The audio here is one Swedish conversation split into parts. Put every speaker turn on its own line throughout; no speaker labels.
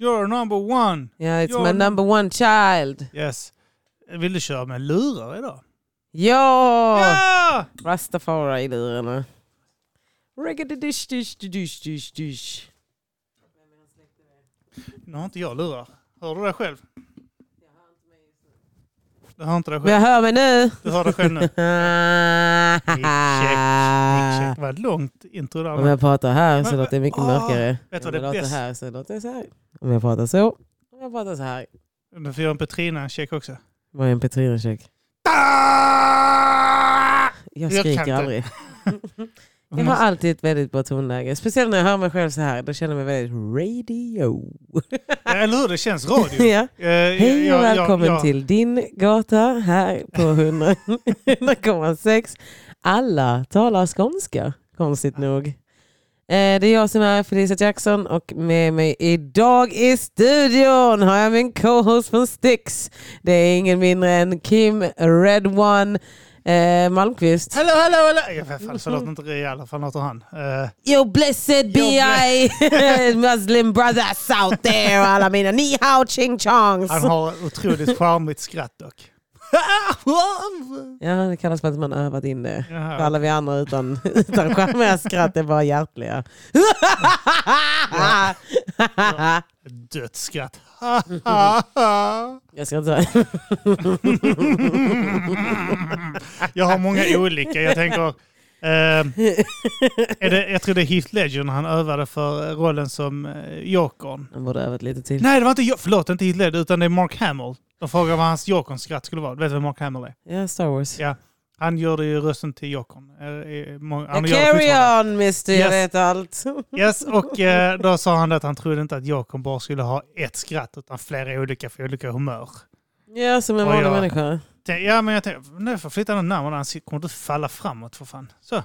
You're number one.
Yeah, it's
Ja,
my
men-
number one child.
Yes. Vill du köra med lurar idag?
Ja!
Ja!
Rastafari i lurarna. Riggadidish, dish, dish, dish, dish.
Nu har inte jag lurar. Hör du det själv? Du hör inte det
Men jag
själv.
hör mig nu.
Du hör det själv nu. Dick check. Vad långt intro där.
Om jag pratar här så
Men-
låter det mycket
ah,
mörkare.
vet du
Om
vad det
jag låter
bäst-
här så låter det så här. Om jag pratar så. Om jag pratar så här.
Du får göra en Petrina-check också.
Vad är en Petrina-check? Jag
Jag kan
skriker
inte.
aldrig.
Mm.
Jag har alltid ett väldigt bra tonläge. Speciellt när jag hör mig själv så här. Då känner jag mig väldigt radio.
Ja, eller hur? Det känns radio.
ja.
Eh, jag-
Hej och
jag- jag-
välkommen
jag-
till din gata här på 100 100,6. Alla talar skånska, konstigt nog. Eh, Det är jag som är Felicia Jackson och med mig idag i studion har jag min co-host från Styx. Det är ingen mindre än Kim Red One eh, Malmqvist.
Hallå, hallå, hallå! Ja, för fan, så låter inte det i alla fall. Låter han. Eh,
Yo blessed be I Muslim brothers out there och alla mina ni hao ching chongs.
han har otroligt charmigt skratt dock.
Ja, det kallas för att man övat in det.
Jaha.
För alla vi andra utan, utan charmiga skratt är bara hjärtliga.
Dött skratt.
Jag ska inte säga.
jag har många olika. Jag tänker... eh, är det, jag tror det är Heath Ledger när han övade för rollen som uh, Jokern.
Han borde övat lite till.
Nej, det var inte jag. Förlåt, inte Heath Ledger, utan det är Mark Hamill. De frågar vad hans Jokerns skratt skulle vara. Du vet vem Mark Hamill är?
Ja, Star Wars.
Ja, Han gjorde ju rösten till Jokern. Eh, eh, må- han gör det
Carry
fortfarande.
on mister, jag
Yes.
vet allt.
Yes, och eh, då sa han att han trodde inte att Jokern bara skulle ha ett skratt utan flera olika för olika humör.
Ja, som en
Och
vanlig
jag-
människa.
Tänk- Ja, men jag tänkte, nu får jag flytta den närmare han sit- kommer inte falla framåt för fan. Så. Är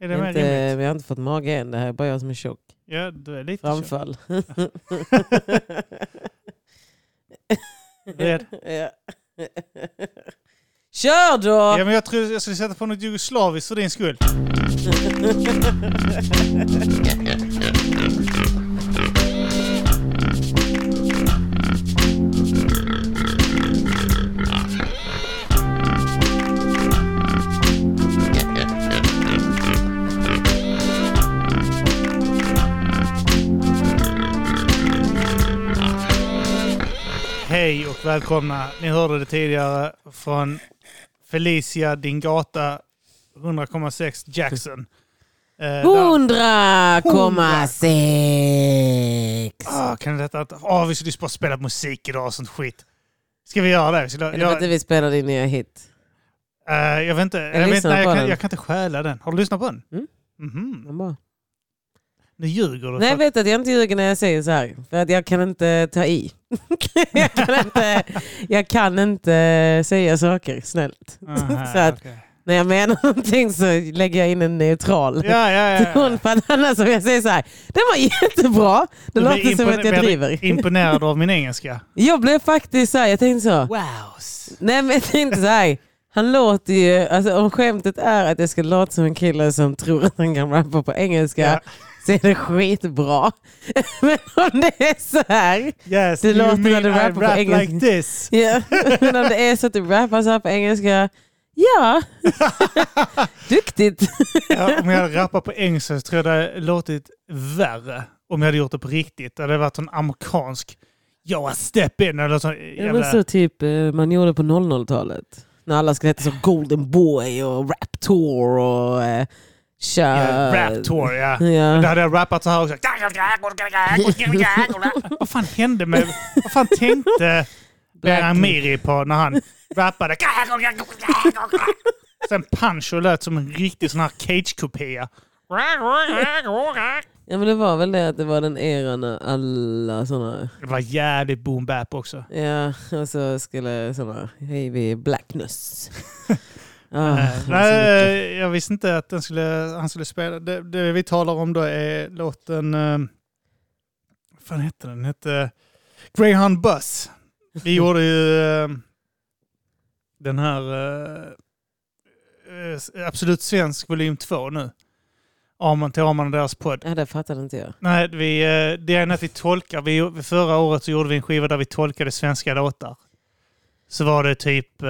det mer
Inte,
rimligt?
vi har inte fått mage än, det här är bara jag som är tjock.
Ja, du är lite tjock.
Framfall.
Red.
Ja. Kör då!
Ja, men jag tror jag skulle sätta på något jugoslaviskt för din skull. Hej och välkomna. Ni hörde det tidigare från Felicia din gata 100,6 Jackson. Eh, där-
100,6!
Ah, kan detta inte... Ah, vi skulle just bara spela musik idag och sånt skit. Ska vi göra det? Vi skulle-
Är det för
jag,
att vi spelar din nya hit?
eh, jag vet inte. Jag, vet, inte-
lyssnar
nej,
på
jag, kan,
den.
jag kan inte stjäla den. Har du lyssnat på den?
Mm.
Mhm.
Den bara-
Nu ljuger du.
Nej,
för
jag
att-
vet att jag inte ljuger när jag säger så här. För att jag kan inte ta i. jag, kan inte, jag kan inte säga saker snällt.
Aha,
så att-
okej.
När jag menar någonting så lägger jag in en neutral
Ja, ja, ja.
ton. För att annars om jag säger så här, den var jättebra. Det
Du blir
låter som
impone-
att jag
blir
driver.
Imponerad av min engelska.
Jag blev faktiskt så här, jag tänkte så.
Wow.
Nej men jag tänkte så här. Han låter ju, alltså om skämtet är att jag ska låta som en kille som tror att han kan rappa på engelska
Ja.
så är det skitbra. men om det är så här.
Yes,
Det
you
låter när
mean
du
I
rappar på
rap
engelska.
like this.
Ja, men om det är så att du rappar så här på engelska, ja. Duktigt.
Ja, om jag hade rappat på engelska så tror jag det hade låtit värre. Om jag hade gjort det på riktigt. Det hade varit en amerikansk... Yo, I step in. Eller sån
Det var
jävla...
så typ eh, man gjorde på 00-talet. När alla skulle heta så Golden Boy och Rap Tour och eh,
Ja,
Kör.
rap tour, ja. Då
Ja.
hade jag rappat så här också. Vad fan hände med... Vad fan tänkte
Black-
Beran Miri på när han rappade? Sen Pancho lät som en riktig sån här cage-kopia.
ja men det var väl det att det var den eran när alla sådana,
Det var jävligt boom bap också.
ja och så skulle sådana, hej vi är Blackness. Ah, det var så mycket.
Eh, Nej, jag visste inte att den skulle, han skulle spela. Det, det vi talar om då är låten... eh, Vad fan hette den? Den hette Greyhound Bus. Vi gjorde ju eh, den här eh, eh, Absolut Svensk volym 2 nu. Amon till Amon och deras podd.
Ja, det fattade inte jag.
Nej, vi, eh, det är att vi tolkar. Vi, förra året så gjorde vi en skiva där vi tolkade svenska låtar. Så var det typ eh,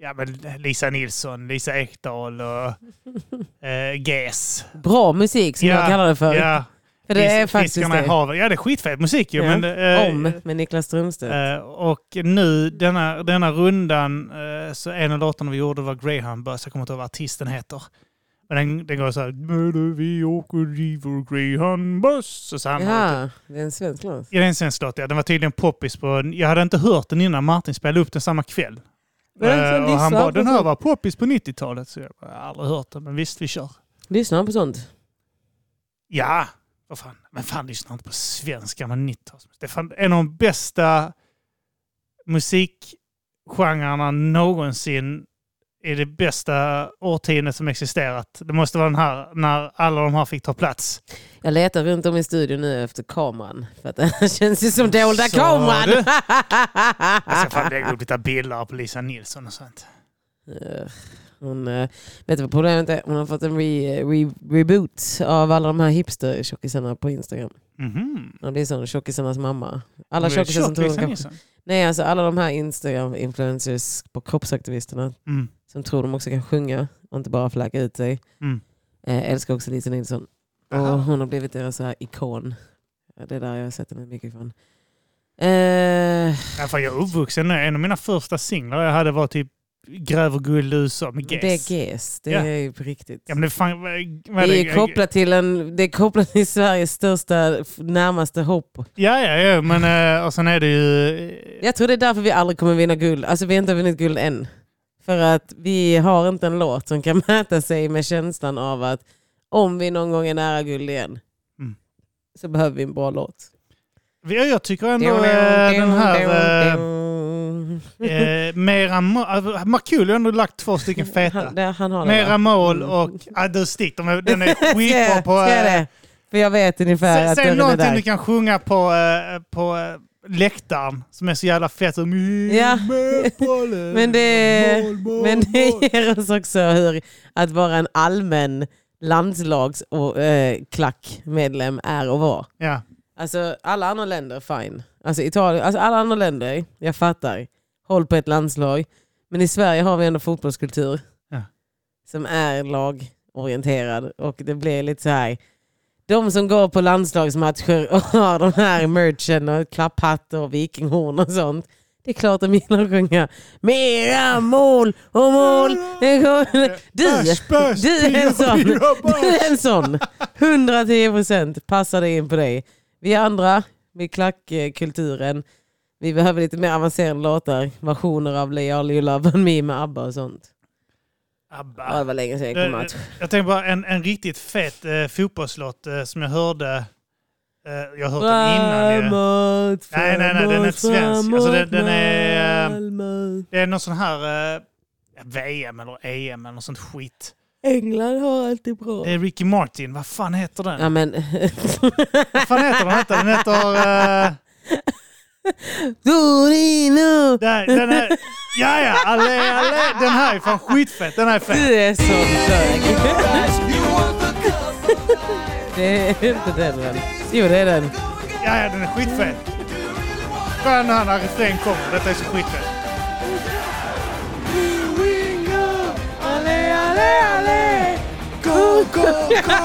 ja, men Lisa Nilsson, Lisa Ekdahl och eh, GES.
Bra musik som
Ja,
jag kallar det för.
Ja,
för det är
Fis-
faktiskt
Fiskarna i
det.
havet. Ja, det är skitfett musik ju.
Ja.
Men, eh,
Om med Niklas Strömstedt.
Eh, och nu denna, denna rundan, eh, så en av låtarna vi gjorde var Greyhound Bus, jag kommer inte ihåg vad artisten heter. Men den, den går så här, "När vi åker i vår Greyhound Bus. Och så han Eh, ja.
ja, det är en svensk låt.
ja, det är en svensk låt, ja. Den var tydligen poppis på, jag hade inte hört den innan Martin spelade upp den samma kväll.
Var det en sån
Eh, och han
dissa?
bara, den här var poppis på 90-talet. Så jag bara, jag har aldrig hört den, men visst vi kör.
Lyssnar han på sånt?
Ja, vad fan. Men fan lyssnar inte på svenska med 90-talsmusik. Det är fan en av de bästa musikgenrerna någonsin i det bästa årtiondet som existerat. Det måste vara den här, när alla de här fick ta plats.
Jag letar runt om i studion nu efter kameran. För att det känns ju som dolda
Så
kameran.
du.
Ah,
Jag ska fan lägga upp lite bilder på Lisa Nilsson och sånt.
Eh, Hon, eh, vet du vad problemet är? Hon har fått en re, re, reboot av alla de här hipster-tjockisarna på Instagram.
Mhm.
Hon blir sån tjockisarnas mamma. Alla
Hon blev
tjockisar som
tjock,
tror hon
Lisa
kan...
Nilsson.
Nej, alltså alla de här Instagram-influencers och kroppsaktivisterna
Mm.
som tror de också kan sjunga och inte bara flagga ut sig.
Mm.
Eh, älskar också Lisa Nilsson.
Aha.
Och hon har blivit deras så här ikon. Ja, Det är där jag har sett henne mycket ifrån. Eh,
Ja, fan, jag är uppvuxen. En av mina första singlar jag hade var typ Gräver guld i USA med
Det
Guess.
är GES, det
Ja.
är ju på riktigt.
Ja, men det, fan, vad- vad är
Det
det-
är kopplat till, en, det är kopplat till Sveriges största, f- närmaste hopp.
Ja, ja, ja, men eh, och sen är det ju... eh,
Jag tror det är därför vi aldrig kommer vinna guld. Alltså vi har inte vunnit guld än. För att vi har inte en låt som kan mäta sig med känslan av att om vi någon gång är nära guld igen
Mm.
så behöver vi en bra låt.
Ja, jag tycker ändå eh, den här... eh, eh, Mera mål... eh, Markoolio har ändå lagt två stycken feta.
Han, det- han har den, va?
Mera mål
Mm.
och... Ah, du stick, de är, den är
Ska
skitbra
jag-
på...
ska jag
eh,
det? För jag vet ungefär
Säg
att
säg
dörren är
någonting du
där.
kan sjunga på, eh, på eh, läktaren som är så jävla fett. Så, "Mm,
Ja. Men det- Men det ger oss också hur att vara en allmän landslags och eh, klackmedlem är och var.
Ja.
Alltså alla andra länder, fine. Alltså Italien, alltså alla andra länder, jag fattar. Håll på ett landslag. Men i Sverige har vi ändå fotbollskultur.
Ja.
Som är lagorienterad. Och det blir lite så här. De som går på landslagsmatcher och har de här merchen och klapphatt och vikinghorn och sånt. Det är klart de gillar att sjunga mera mål och mål. Du,
Bärs, bärs,
du är en
pio,
sån.
pio, bärs.
Du är en sån. 110 procent passar det in på dig. Vi andra, med klackkulturen, vi behöver lite mer avancerade låtar. Versioner av Lay All You Love On Me med ABBA och sånt. Ja,
Abba.
det var länge sedan jag
Ah. Det-
kom match.
Jag tänkte bara en, en riktigt fet eh, fotbollslåt eh, som jag hörde. Eh, jag har hört den innan. ju.
Framåt,
Nej, nej, nej, den är inte svensk. Alltså, den- den är, eh,
Malmö.
Det är någon sån här eh, VM eller EM eller något sånt skit.
England har alltid bra.
Det är Ricky Martin. Vad fan heter den?
Ja, men...
Vad fan heter den? Vänta, Den heter... eh,
Torino!
där, den är, ja, ja. Allé, allé. Den här är fan skitfett. Den här är fet.
Du är så bög. Det är inte den väl? Jo, det är den.
Ja, ja, den är skitfett. Fan, nu när refrängen kommer. Detta är så skitfett.
Allé, allé, allé!
Go, go, go!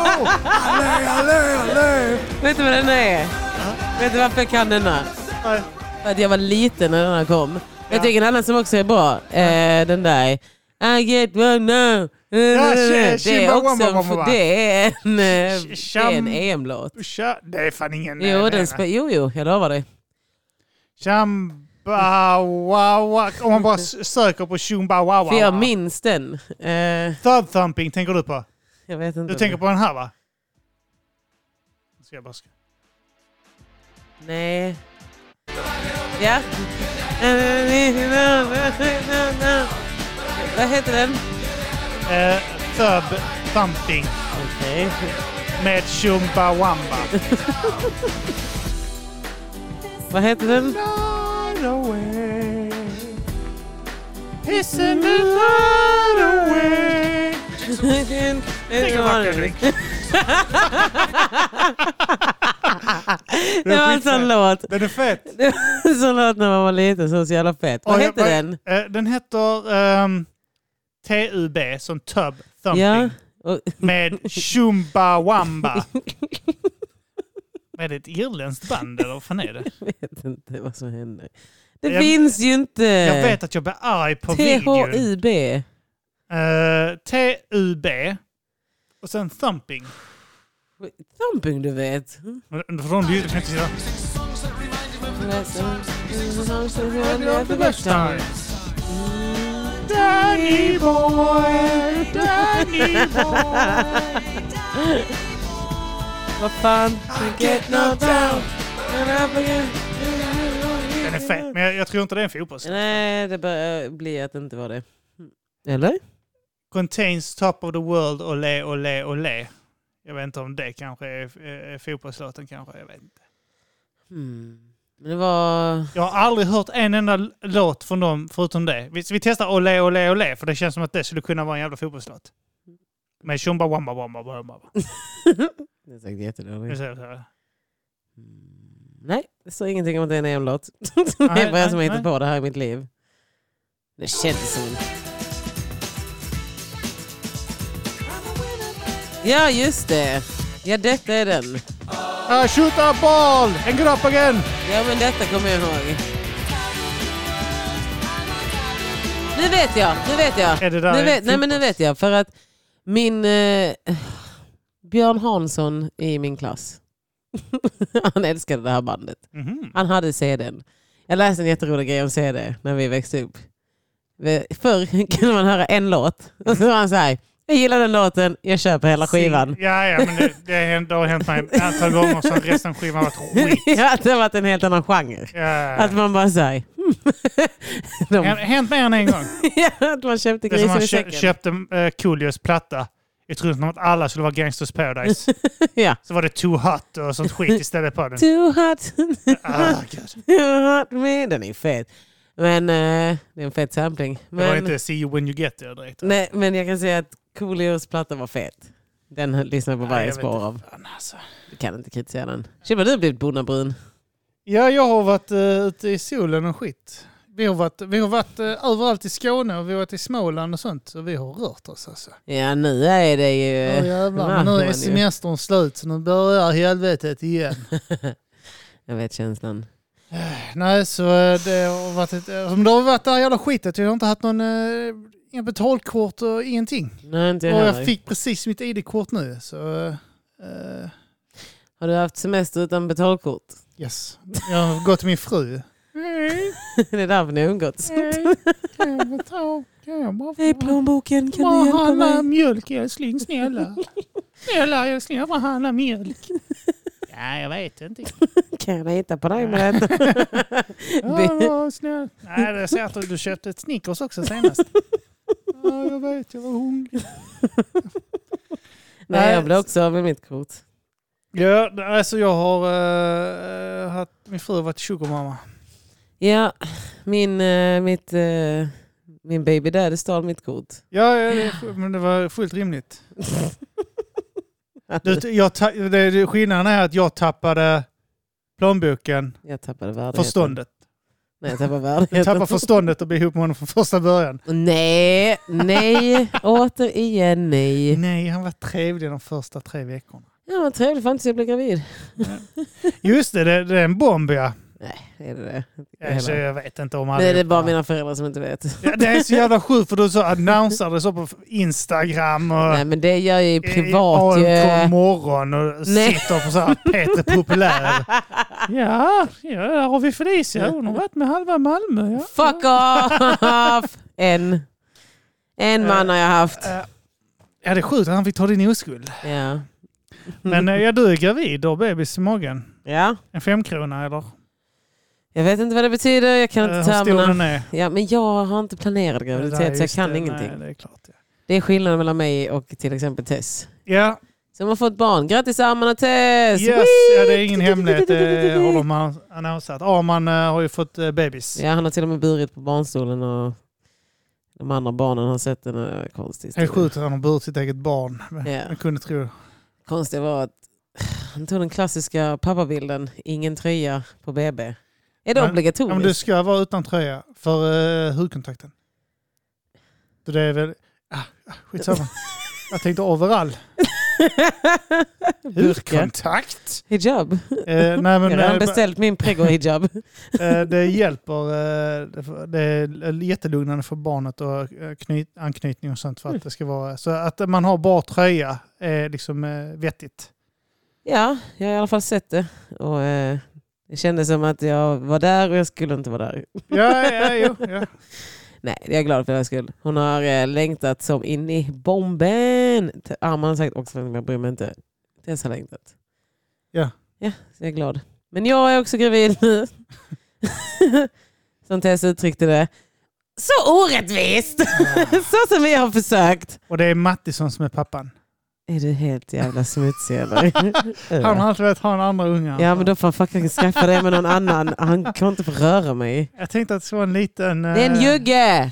Allé, allé, allé!
Vet du vad den är? Vet du varför jag kan denna? För att jag var liten när den här kom. Jag tycker en annan som också är bra, eh, den där. I get one now.
she- she-
det, är
wah, wah, wah,
också,
wah, wah.
det är en, eh,
Sh- sh-
det är en
sham-
EM-låt.
Pusha. Det är fan ingen...
Jo,
nej,
den
nej.
spe- jo, jo, jag lovar dig.
Chumbawawa. Om man bara s- söker på Chumbawawa.
För jag minns den. Eh,
Third thumping tänker du på.
jag vet inte.
Du tänker på den här va? Ska jag bara ska.
Nej. Ja. Vad heter den?
Eh, third thumping
Okej.
med Chumbawamba.
Vad heter den?
Night away. Pissing the night away. Tänk om man kan dricka.
det var en sån låt.
Den är fet.
Det var en sån låt när man var liten, så var det så jävla fett. Vad
Oj,
hette
vad-
den?
Eh, Den heter ehm, TUB, som tub thumping,
Ja. Och,
med Chumbawamba. är det ett irländskt band eller vad fan är det?
jag vet inte vad som hände. Det
Jag-
finns ju inte.
Jag vet att jag blir arg på videon.
THIB.
Eh, TUB och sen thumping.
Thumping du vet.
Men För de ljuden kan jag inte säga. Danny boy, Danny boy.
Vad fan?
Ah,
You get knocked out. And up again.
Den är fet, men jag, jag tror inte det är en fotbolls.
Nej, det börjar bli att det inte var det. Eller?
Contains top of the world, olé, olé, olé. Jag vet inte om det kanske är, är fotbollslåten kanske, jag vet inte.
Hmm. Men det var...
Jag har aldrig hört en enda l- låt från dem förutom det. Vi, vi testar olé, olé, olé, för det känns som att det skulle kunna vara en jävla fotbollslåt. Med tjomba, wamba, wamba, wamba.
Mm. Det är säkert jättedåligt. Mm. Nej, det står ingenting om att det är en EM-låt. det
Nej,
är bara jag som har
nej,
hittat
nej.
på det här i mitt liv. Det känns som... Ja, just det. Ja, detta är den.
Uh, shoot a ball and get up again!
Ja, men detta kommer jag ihåg. Nu vet jag, nu vet jag.
Är det där
nu vet,
en
nej, men nu vet jag. För att min... Eh, Björn Hansson i min klass. Han älskade det här bandet.
Mhm.
Han hade CDn. Jag läste en jätterolig grej om CD när vi växte upp. Vi- Förr kunde man höra en låt och så var han så här. Jag gillar den låten, jag köper hela skivan.
Ja, ja, men det, det, har hänt- det har hänt mig ett antal gånger så resten av skivan har varit skit.
ja, det har varit en helt annan genre.
Ja.
Att man bara säger. Hmm.
Det har
De,
hänt mer än en gång.
ja, att man köpte
Det är som
grisen
man
i
kö-
säcken.
köpte eh, Coolios platta i tron att alla skulle vara Gangsters Paradise.
Ja.
Så var det Too Hot och sånt skit istället på den.
Too hot,
Ah, God.
too hot me. Den är fet. Men eh, det är en fet sampling.
det var
Men,
inte See You When You Get There direkt.
nej, men jag kan säga att Coolios platta var fet. Den lyssnade jag
Nej,
på varje
jag vet
spår
inte.
av.
Fan, alltså.
Du kan inte kritisera den. Shit vad du har blivit bonnabrun.
Ja, jag har varit uh, ute i solen och skit. Vi har varit, vi har varit eh, överallt i Skåne och vi har varit i Småland och sånt. Så vi har rört oss alltså.
Ja nu är det
Ja
ju...
jävlar, men nu
man
är
ju.
semestern slut så nu börjar helvetet igen.
Jag vet känslan.
Nej, så eh, det har varit ett, eh, som det har varit det här jävla skitet. Jag har inte haft någon, eh, inga betalkort och ingenting.
Nej, inte jag
och
heller.
jag fick precis mitt ID-kort nu. Så eh,
Har du haft semester utan betalkort?
yes, jag har gått till min fru. Nej,
det är därför ni har umgåtts.
nej, kan jag betala? Kan jag bara
Hej
få
plånboken, kan
bara
du hjälpa
handla
mig?
mjölk älskling, snälla. Snälla älskling, jag bara handla mjölk. Ja, jag vet inte.
Kan jag hitta på dig med detta?
Ja, vad snäll. Nej, det ser att du köpte ett Snickers också senast. Ja, jag vet, jag var hungrig.
Nej jag blev också av med mitt kort.
Ja, alltså jag har eh, haft, min fru har varit sugarmamma.
Ja, min, eh, mitt, eh, min baby daddy stal mitt kort.
Ja, ja det, är- men det var fullt rimligt. Du, jag, ta- det, det, skillnaden är att jag tappade plånboken,
Jag tappade värdigheten.
förståndet.
Nej jag tappade
Jag tappade
värdigheten.
förståndet och blev ihop med honom från första början.
Nej, nej, återigen nej.
Nej, han var trevlig de första tre veckorna.
Ja, vad trevligt, fan tills jag blev gravid.
Just det, det, det är en bomb ja.
Är det det?
ja så jag vet inte om
Nej, det är
allihopa.
bara mina föräldrar som inte vet.
Ja, det är så jävla sjukt för du så annonsade så på Instagram och
Nej, men det gör jag ju
i
privat ju.
AMK morgon och
Nej.
sitter på så här Peter Populär. ja, ja, där har vi Felicia. Hon har varit med halva Malmö. Ja.
Fuck off! En. En man har jag haft.
Eh, Ja, det är sjukt att han fick ta din oskuld.
Ja.
Men
Mm.
eh, ja, du är gravid och har bebis i magen.
ja.
En femkrona eller?
Jag vet inte vad det betyder, jag kan
Eh,
inte
Hur stor den
termerna.
är.
Ja, men jag har inte planerat graviditet
Nej,
så jag
just
kan
det.
ingenting.
Nej, det är klart. Ja.
Det är skillnaden mellan mig och till exempel Tess.
Ja,
Som har fått barn. Grattis armarna Tess!
yes, ja, det är ingen hemlighet. Det har de annonsat. Arman eh, har ju fått eh, bebis.
Ja, han har till och med burit på barnstolen och de andra barnen har sett den. och det är Konstigt.
Det är sjukt att han har burit sitt eget barn. Men
Ja.
Man kunde tro.
konstiga var att han tog den klassiska pappabilden, ingen tröja på BB. Är det
Men- Ja,
obligatoriskt?
men du ska vara utan tröja för uh, hudkontakten. Så det är väl... Ah, ah, skitsamma. Jag tänkte overall.
Burka.
Hudkontakt?
Hijab.
Eh, nej,
Jag
men
har redan
eh,
beställt min prego-hijab.
eh, det hjälper. eh, det f- det är jättelugnande för barnet och eh, knyt, anknytning och sånt
Mm.
för att det ska vara... Så att man har bra tröja är liksom eh, vettigt.
Ja, jag har i alla fall sett det. Och, eh, det kändes som att jag var där och jag skulle inte vara där.
Ja, ja, jo, ja.
Nej, det är jag glad för hennes skull. Hon har eh, längtat som in i bomben. T- Arman har sagt också, men jag bryr mig inte. Tess har längtat.
Ja.
Ja, så jag är glad. Men jag är också gravid nu. som Tess uttryckte det. Så orättvist! så som vi har försökt.
Och det är Mattisson som är pappan.
Är du helt jävla smutsig eller?
Han har alltid velat ha en andra unge.
Ja men då får han fucking skaffa det med någon annan. Han kan inte få röra mig.
Jag tänkte att det skulle vara en liten eh,
Det är en jugge!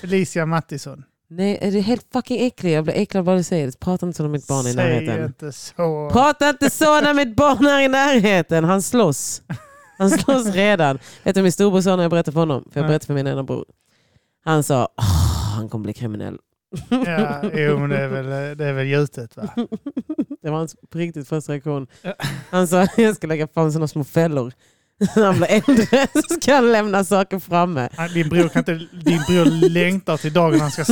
Felicia Mattisson.
Nej, är du helt fucking äcklig? Jag blir äcklad bara du säger det. Prata inte så om mitt barn i
Säg
närheten.
inte så.
Prata inte så när mitt barn är i närheten. Han slåss. Han slåss redan. Vet du min storbror sa när jag berättade för honom? För jag
Nej.
berättade för min ena bror. Han sa "Åh, han kommer bli kriminell.
Ja, jo, men det är väl, eh, det är väl gjutet va?
Det var hans på riktigt första reaktion.
Ja.
Han sa jag ska lägga fram sådana små fällor. När han blir äldre så ska han lämna saker framme.
Nej, Din bror, kan inte, din bror längtar till dagen han ska,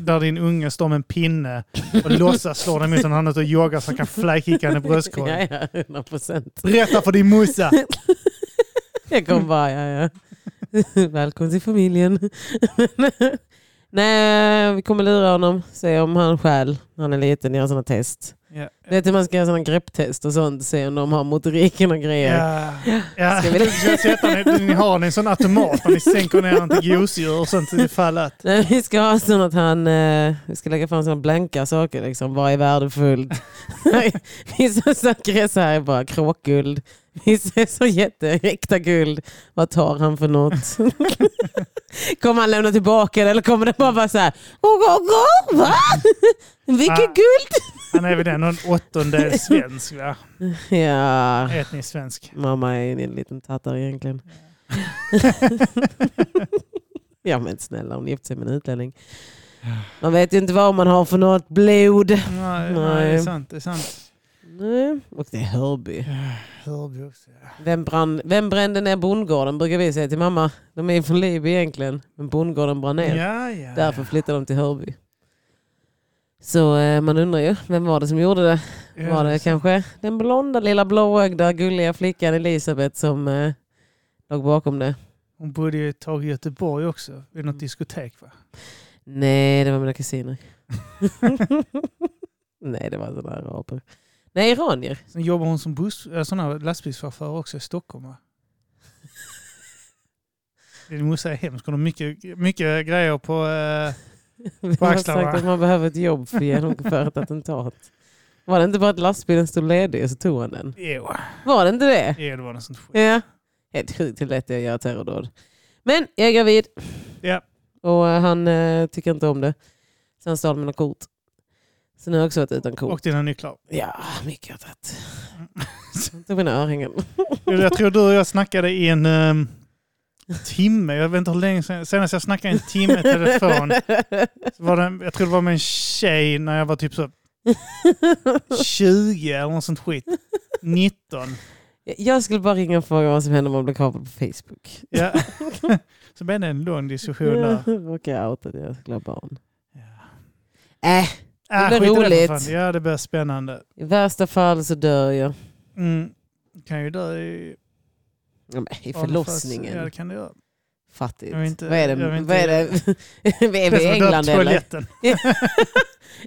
där din unge står med en pinne och låtsas slå den mot en annan och joggar så han kan flykicka henne i bröstkorgen.
Ja, ja, 100 procent.
Berätta för din morsa!
Jag kom bara, ja, ja. Välkommen till familjen. Nej, vi kommer lura honom. Se om han stjäl när han är liten, göra sådana test.
Ja,
Du vet hur man ska göra sådana grepptest och sånt. Se om de har motoriken och grejer.
ja, ja.
Ska vi-
Du ska sätta ni, ni har en sån automat när ni sänker ner den till gosedjur och sånt i fallet.
Nej, vi ska ha sånt att han, eh, vi ska lägga fram sådana blanka saker. Liksom. Vad är värdefullt? Vissa saker är så här bara kråkguld. Vissa är så jätteäkta guld. Vad tar han för något? kommer han lämna tillbaka det eller kommer det bara vara så här? Oh, oh, oh, va? Vilket
Ah.
guld?
Han är väl den någon åttondel svensk va?
Ja,
Etnisk svensk.
mamma är en liten tattare egentligen. ja men snälla, hon gifte sig med en utlänning. Man vet ju inte vad man har för något blod.
Nej,
Nej.
nej. det är sant. Det är sant.
Nej. Och det är Hörby.
Hörby också. ja.
Vem, brann, vem brände ner bondgården brukar vi säga till mamma. De är ju från Liby egentligen. Men bondgården brann ner.
Ja, ja.
Därför flyttade de till Hörby. Så eh, man undrar ju, vem var det som gjorde det?
ja.
var det kanske den blonda lilla blåögda gulliga flickan Elisabeth som eh, låg bakom det?
Hon bodde ju ett tag i Göteborg också, vid något diskotek va?
Nej, det var mina kusiner. Nej, det var sådana araber. Nej, iranier.
Sen jobbar hon som buss, äh, sån här lastbilschaufför också i Stockholm va? Din morsa är hemsk, hon har mycket, mycket grejer på... eh,
Vi
På
har
axlarna.
sagt att man behöver ett jobb för att genomföra ett attentat. Var det inte bara att lastbilen stod ledig och så tog han den?
Jo,
Var det inte det?
jo, det var något sånt skit.
Ja. Helt sjukt hur lätt det är att göra terrordåd. Men jag är gravid.
Ja.
Och eh, han eh, tycker inte om det. Så han stal mina kort. Så nu har jag också varit utan kort.
Och Mm. dina nycklar.
Ja, mycket har jag tagit. Han tog mina örhängen.
Jo, Jag tror du och jag snackade i en ehm, timme, jag vet inte hur länge sedan, senast jag snackade i en timme i telefon. Så var det, jag tror det var med en tjej när jag var typ så 20 eller något sånt skit. 19.
Jag skulle bara ringa och fråga vad som händer om man blir kapad på Facebook.
Ja. Så blev det en lång diskussion där.
Råkar jag outa att jag skulle ha barn.
Ja.
Äh,
Ah,
Det blir
skit i för
roligt.
fan. Ja, det blir spännande.
i värsta fall så dör jag.
Mm. Kan ju dö i...
Ja, men I
Ja, det
förlossningen.
kan det göra.
Fattigt.
Jag vet inte-
vad är
jag
det?
vet inte-
Vad är det? är vi
Det är som att
i
dö på
England eller?
toaletten.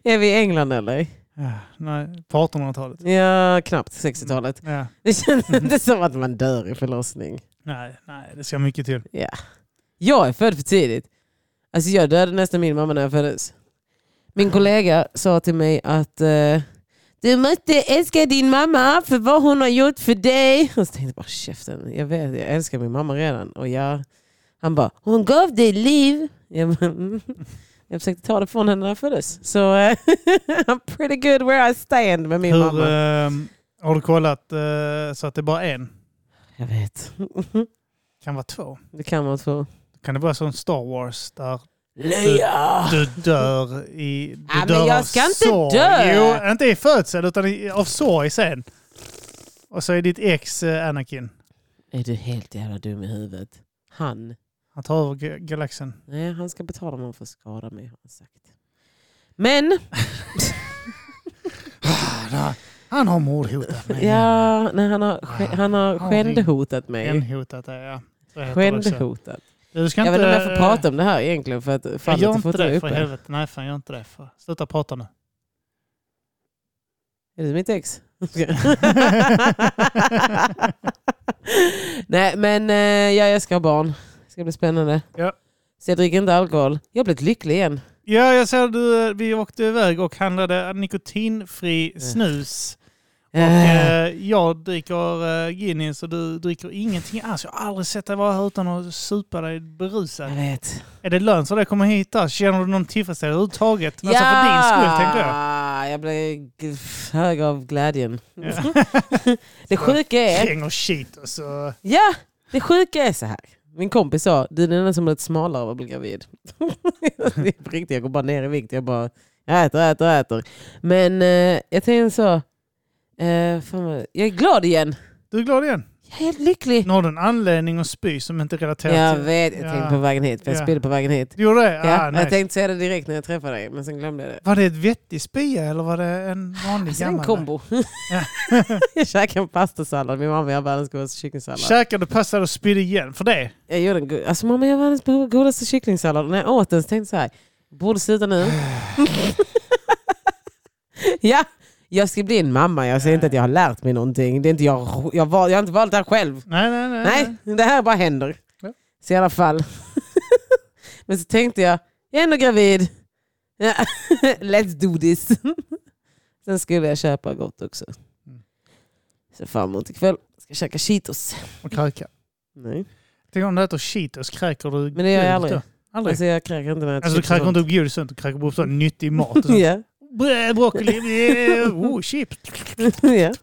Är vi i England eller?
Ja, nej, på 1800-talet.
Ja, knappt 60-talet.
Ja.
Det känns inte som att man dör i förlossning.
Nej, nej, det ska mycket till.
Jag är född för tidigt. Alltså jag dödade nästan min mamma när jag föddes. Min kollega sa till mig att eh, du måste älska din mamma för vad hon har gjort för dig. Och så tänkte jag bara käften, jag vet jag älskar min mamma redan. Och jag, han bara, hon gav dig liv. Jag bara, mm. Jag försökte ta det från henne när jag föddes. Så eh, I'm pretty good where I stand med min
Hur,
mamma.
ehm, har du kollat eh, så att det är bara en?
Jag vet.
Kan vara två.
Det kan man få.
Kan det vara som Star Wars där
Leia!
du dör i... Du
Ja, men
dör
jag
av
ska inte
sorg.
dö.
Jo, inte i födsel utan i, av sorg sen. Och så är ditt ex eh, Anakin.
Är du helt jävla dum i huvudet? Han.
Han tar över ga- galaxen.
Nej, han ska betala om han får skada mig har han sagt. Men,
Han har mordhotat mig.
ja, nej, han
Ah,
har, ske- han har
Ja,
skändehotat mig.
Enhotat dig, ja. Så heter det också.
Skändehotat.
Du ska
Jag
inte...
vet inte om jag får prata om det här egentligen för att
Jag
fallet
gör
är
inte det
fortfarande
för
uppe.
helvete. Nej fan gör inte det. För. Sluta prata nu.
Är det mitt ex? Nej men eh, ja, jag ska ha barn. Det ska bli spännande.
Ja.
Så jag dricker inte alkohol. Jag har blivit lycklig igen.
Ja jag ser du, vi åkte iväg och handlade nikotinfri snus. Och
Eh,
eh, jag dricker eh, Guinness och du dricker ingenting alls. Jag har aldrig sett dig vara här utan att supa dig
jag
berusad.
vet.
Är det lönt för dig att komma hit där? Känner du någon tillfredsställelse överhuvudtaget? Alltså för din skull tänker jag.
jag blev g- hög av glädjen.
Ja.
Det sjuka är...
Kräng och oh, shit alltså. och så...
Ja, det sjuka är så här. Min kompis sa, du är den enda som blivit smalare av att bli gravid. Det är på riktigt, jag går bara ner i vikt. Jag bara jag äter, äter, äter. Men eh, jag tänkte så, eh, fan vad, jag är glad igen.
Du är glad igen?
Jag är helt lycklig.
Nu har du en anledning att spy som inte är relaterad
Jag
till...
vet, jag tänkte på vägen hit, för jag
Ja.
spydde på vägen hit.
Du gjorde det?
Ja,
ah,
jag
nice.
tänkte säga det direkt när jag träffade dig, men sen glömde jag det.
Var det ett vettig spya eller var det en vanlig
Alltså, det är en
gammal?
kombo.
Ja.
jag käkade en pastasallad, min mamma gör världens godaste kycklingsallad.
Käkade du pasta och spydde igen för det?
Jag gjorde en god, alltså mamma jag har världens go- godaste kycklingsallad. Och när jag åt den så tänkte jag så här, borde sluta nu. ja, jag ska bli en mamma. Jag säger inte att jag har lärt mig någonting. Det är inte jag, jag, val, jag har inte valt det här själv.
Nej, nej, nej.
Nej, det här bara händer.
Ja.
Så i alla fall. Men så tänkte jag, jag är ändå gravid. Ja, Let's do this. Sen skulle jag köpa gott också.
Mm.
Så fram emot ikväll ska jag käka Cheetos.
Och kräka.
Nej.
Tänk om du äter Cheetos, kräker du
Men det gör jag
godis
aldrig.
då? Aldrig?
Alltså jag kräker inte när jag äter
Alltså, du
chips och
kräker
sånt.
inte upp godis och sånt, du kräker bara upp sån nyttig mat. liksom. och sånt.
Ja.
Brö, Broccoli, eh, oh, chips.
ja.
Ja,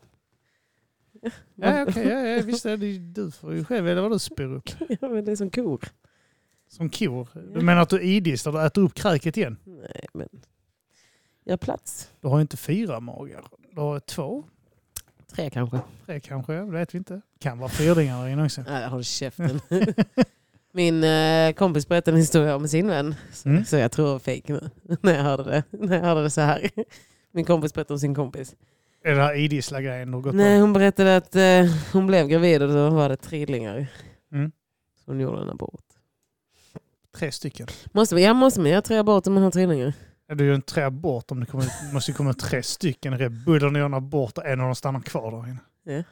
Mm.
okej, ja, ja, visst. är det- Du får ju själv välja vad du spyr upp.
ja, men det är som kor.
Som kor. Du menar att du idisslar, du äter upp kräket igen?
Nej, men jag har plats.
Du har ju inte fyra magar. Du har två,
Tre kanske.
tre kanske, det vet vi inte. Kan vara fyrdingar där inne också.
Nej, håll käften. Min eh, kompis berättade en historia om sin vän. Så,
Mm.
så jag tror det var fejk nu. när jag hörde det. När jag hörde det så här. Min kompis berättade om sin kompis.
Är det här idissla-grejen du har gått
Nej,
på?
hon berättade att eh, hon blev gravid och då var det trillingar.
Mm.
Så hon gjorde en abort.
Tre stycken.
Måste man, ja, måste man göra tre aborter om man har trillingar?
Ja, Det är ju en tre abort om det kommer, det måste ju komma tre stycken. Det bullrar ni gör en abort och en av dem stannar kvar där inne.
Ja.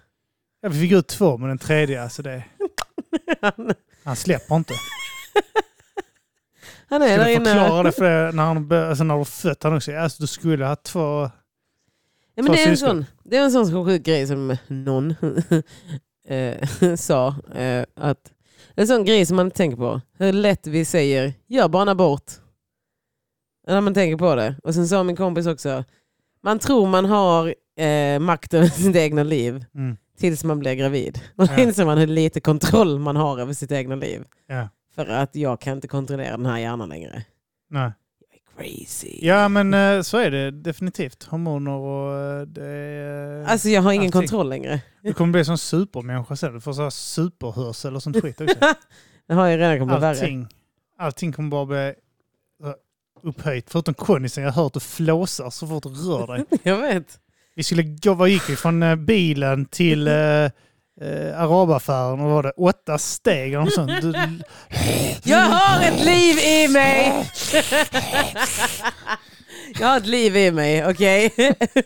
Ja, vi fick ut två, men den tredje, alltså det, han släpper inte.
Han är där
Skulle
inne.
förklara det för dig när, han, bör- alltså när du fött han också. Alltså du skulle ha två...
Ja, men det, är en
Syskon.
sån, det är en sån sjuk grej som någon eh, sa. Eh, att, det är en sån grej som man inte tänker på. Hur lätt vi säger gör bara en abort. När man tänker på det. Och sen sa min kompis också. Man tror man har eh, makt över sitt egna liv
Mm.
tills man blir gravid. Och då
Ja.
inser man hur lite kontroll man har över sitt egna liv.
Ja.
För att jag kan inte kontrollera den här hjärnan längre.
Nej.
Jag är crazy.
Ja men eh, så är det definitivt. Hormoner och eh, det är...
Alltså jag har ingen
Allting.
kontroll längre.
Du kommer bli som supermänniska sen. Du får så här superhörsel och sånt skit också.
Det har jag redan kommit bli värre.
Allting, allting kommer bara bli eh, upphöjt. Förutom kondisen. Jag har hört att du flåsar så fort du rör dig.
Jag vet.
Vi skulle gå, vad gick vi? Från eh, bilen till eh, eh, arabaffären och var det åtta steg eller något sånt. Du,
Jag har ett liv i mig! Jag har ett liv i mig, okej?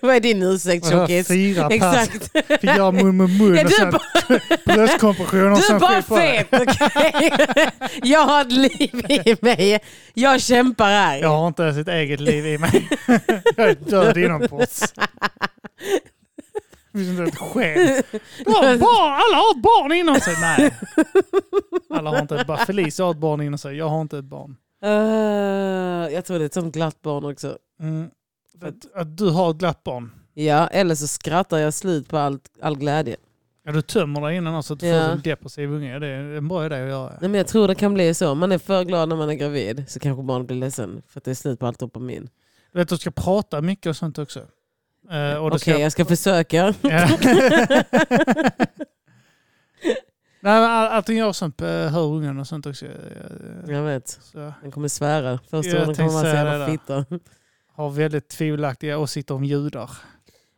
Vad är din ursäkt tjockis?
fyra pers
Exakt.
fick göra mun mot mun
Ja,
och
du
sen
bara-
bröstkompression och
Du är
sen
bara
skit på det.
fet, okej? Jag har ett liv i mig. Jag kämpar här.
Jag har inte ens ett eget liv i mig. Jag är död inombords. Det finns inte ett sken. Du har ett barn. Alla har ett barn inom sig. Nej. Alla har inte ett barn. Felicia har ett barn inom sig. Jag har inte ett barn.
Eh, jag tror det är ett sånt glatt barn också.
Mm.
För att-
Att, att du har ett glatt barn.
Ja, eller så skrattar jag slut på allt, all glädje.
Ja, du tömmer dig innan så att du
Ja.
får en depressiv unge. Ja, Det är en bra idé att göra.
Nej, men jag tror det kan bli så. Om man är för glad när man är gravid så kanske barnet blir ledsen för att det är slut på allt dopamin.
Du vet, du ska prata mycket och sånt också. Eh, och
Okej,
du ska-
jag ska försöka.
Ja. Nej, men all- allting jag som eh, hör ungen och sånt också. eh,
Jag vet,
Så
den kommer svära. Första
Jag
orden kommer vara
tänkte
så
säga
jävla
det
fitta.
har väldigt tvivelaktiga åsikter om judar.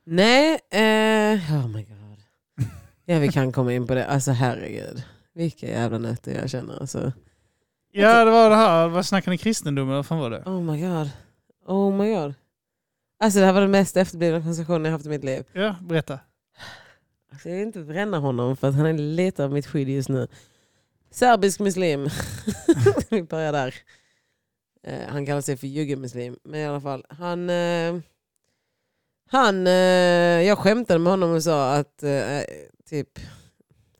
Nej, eh, oh my god. Ja, vi kan komma in på det. Alltså herregud. Vilka jävla nötter jag känner. Alltså.
Ja, det var det här. Vad snackade ni kristendomen? Vad fan var det?
Oh my god. Oh my god. Alltså det här var den mest efterblivna konversationen jag haft i mitt liv.
Ja, berätta.
Alltså, jag vill inte bränna honom för att han är lite av mitt skydd just nu. Serbisk muslim. Vi börjar där. Eh, han kallar sig för juggemuslim. Men i alla fall, han... Eh, han eh, jag skämtade med honom och sa att... Eh, typ,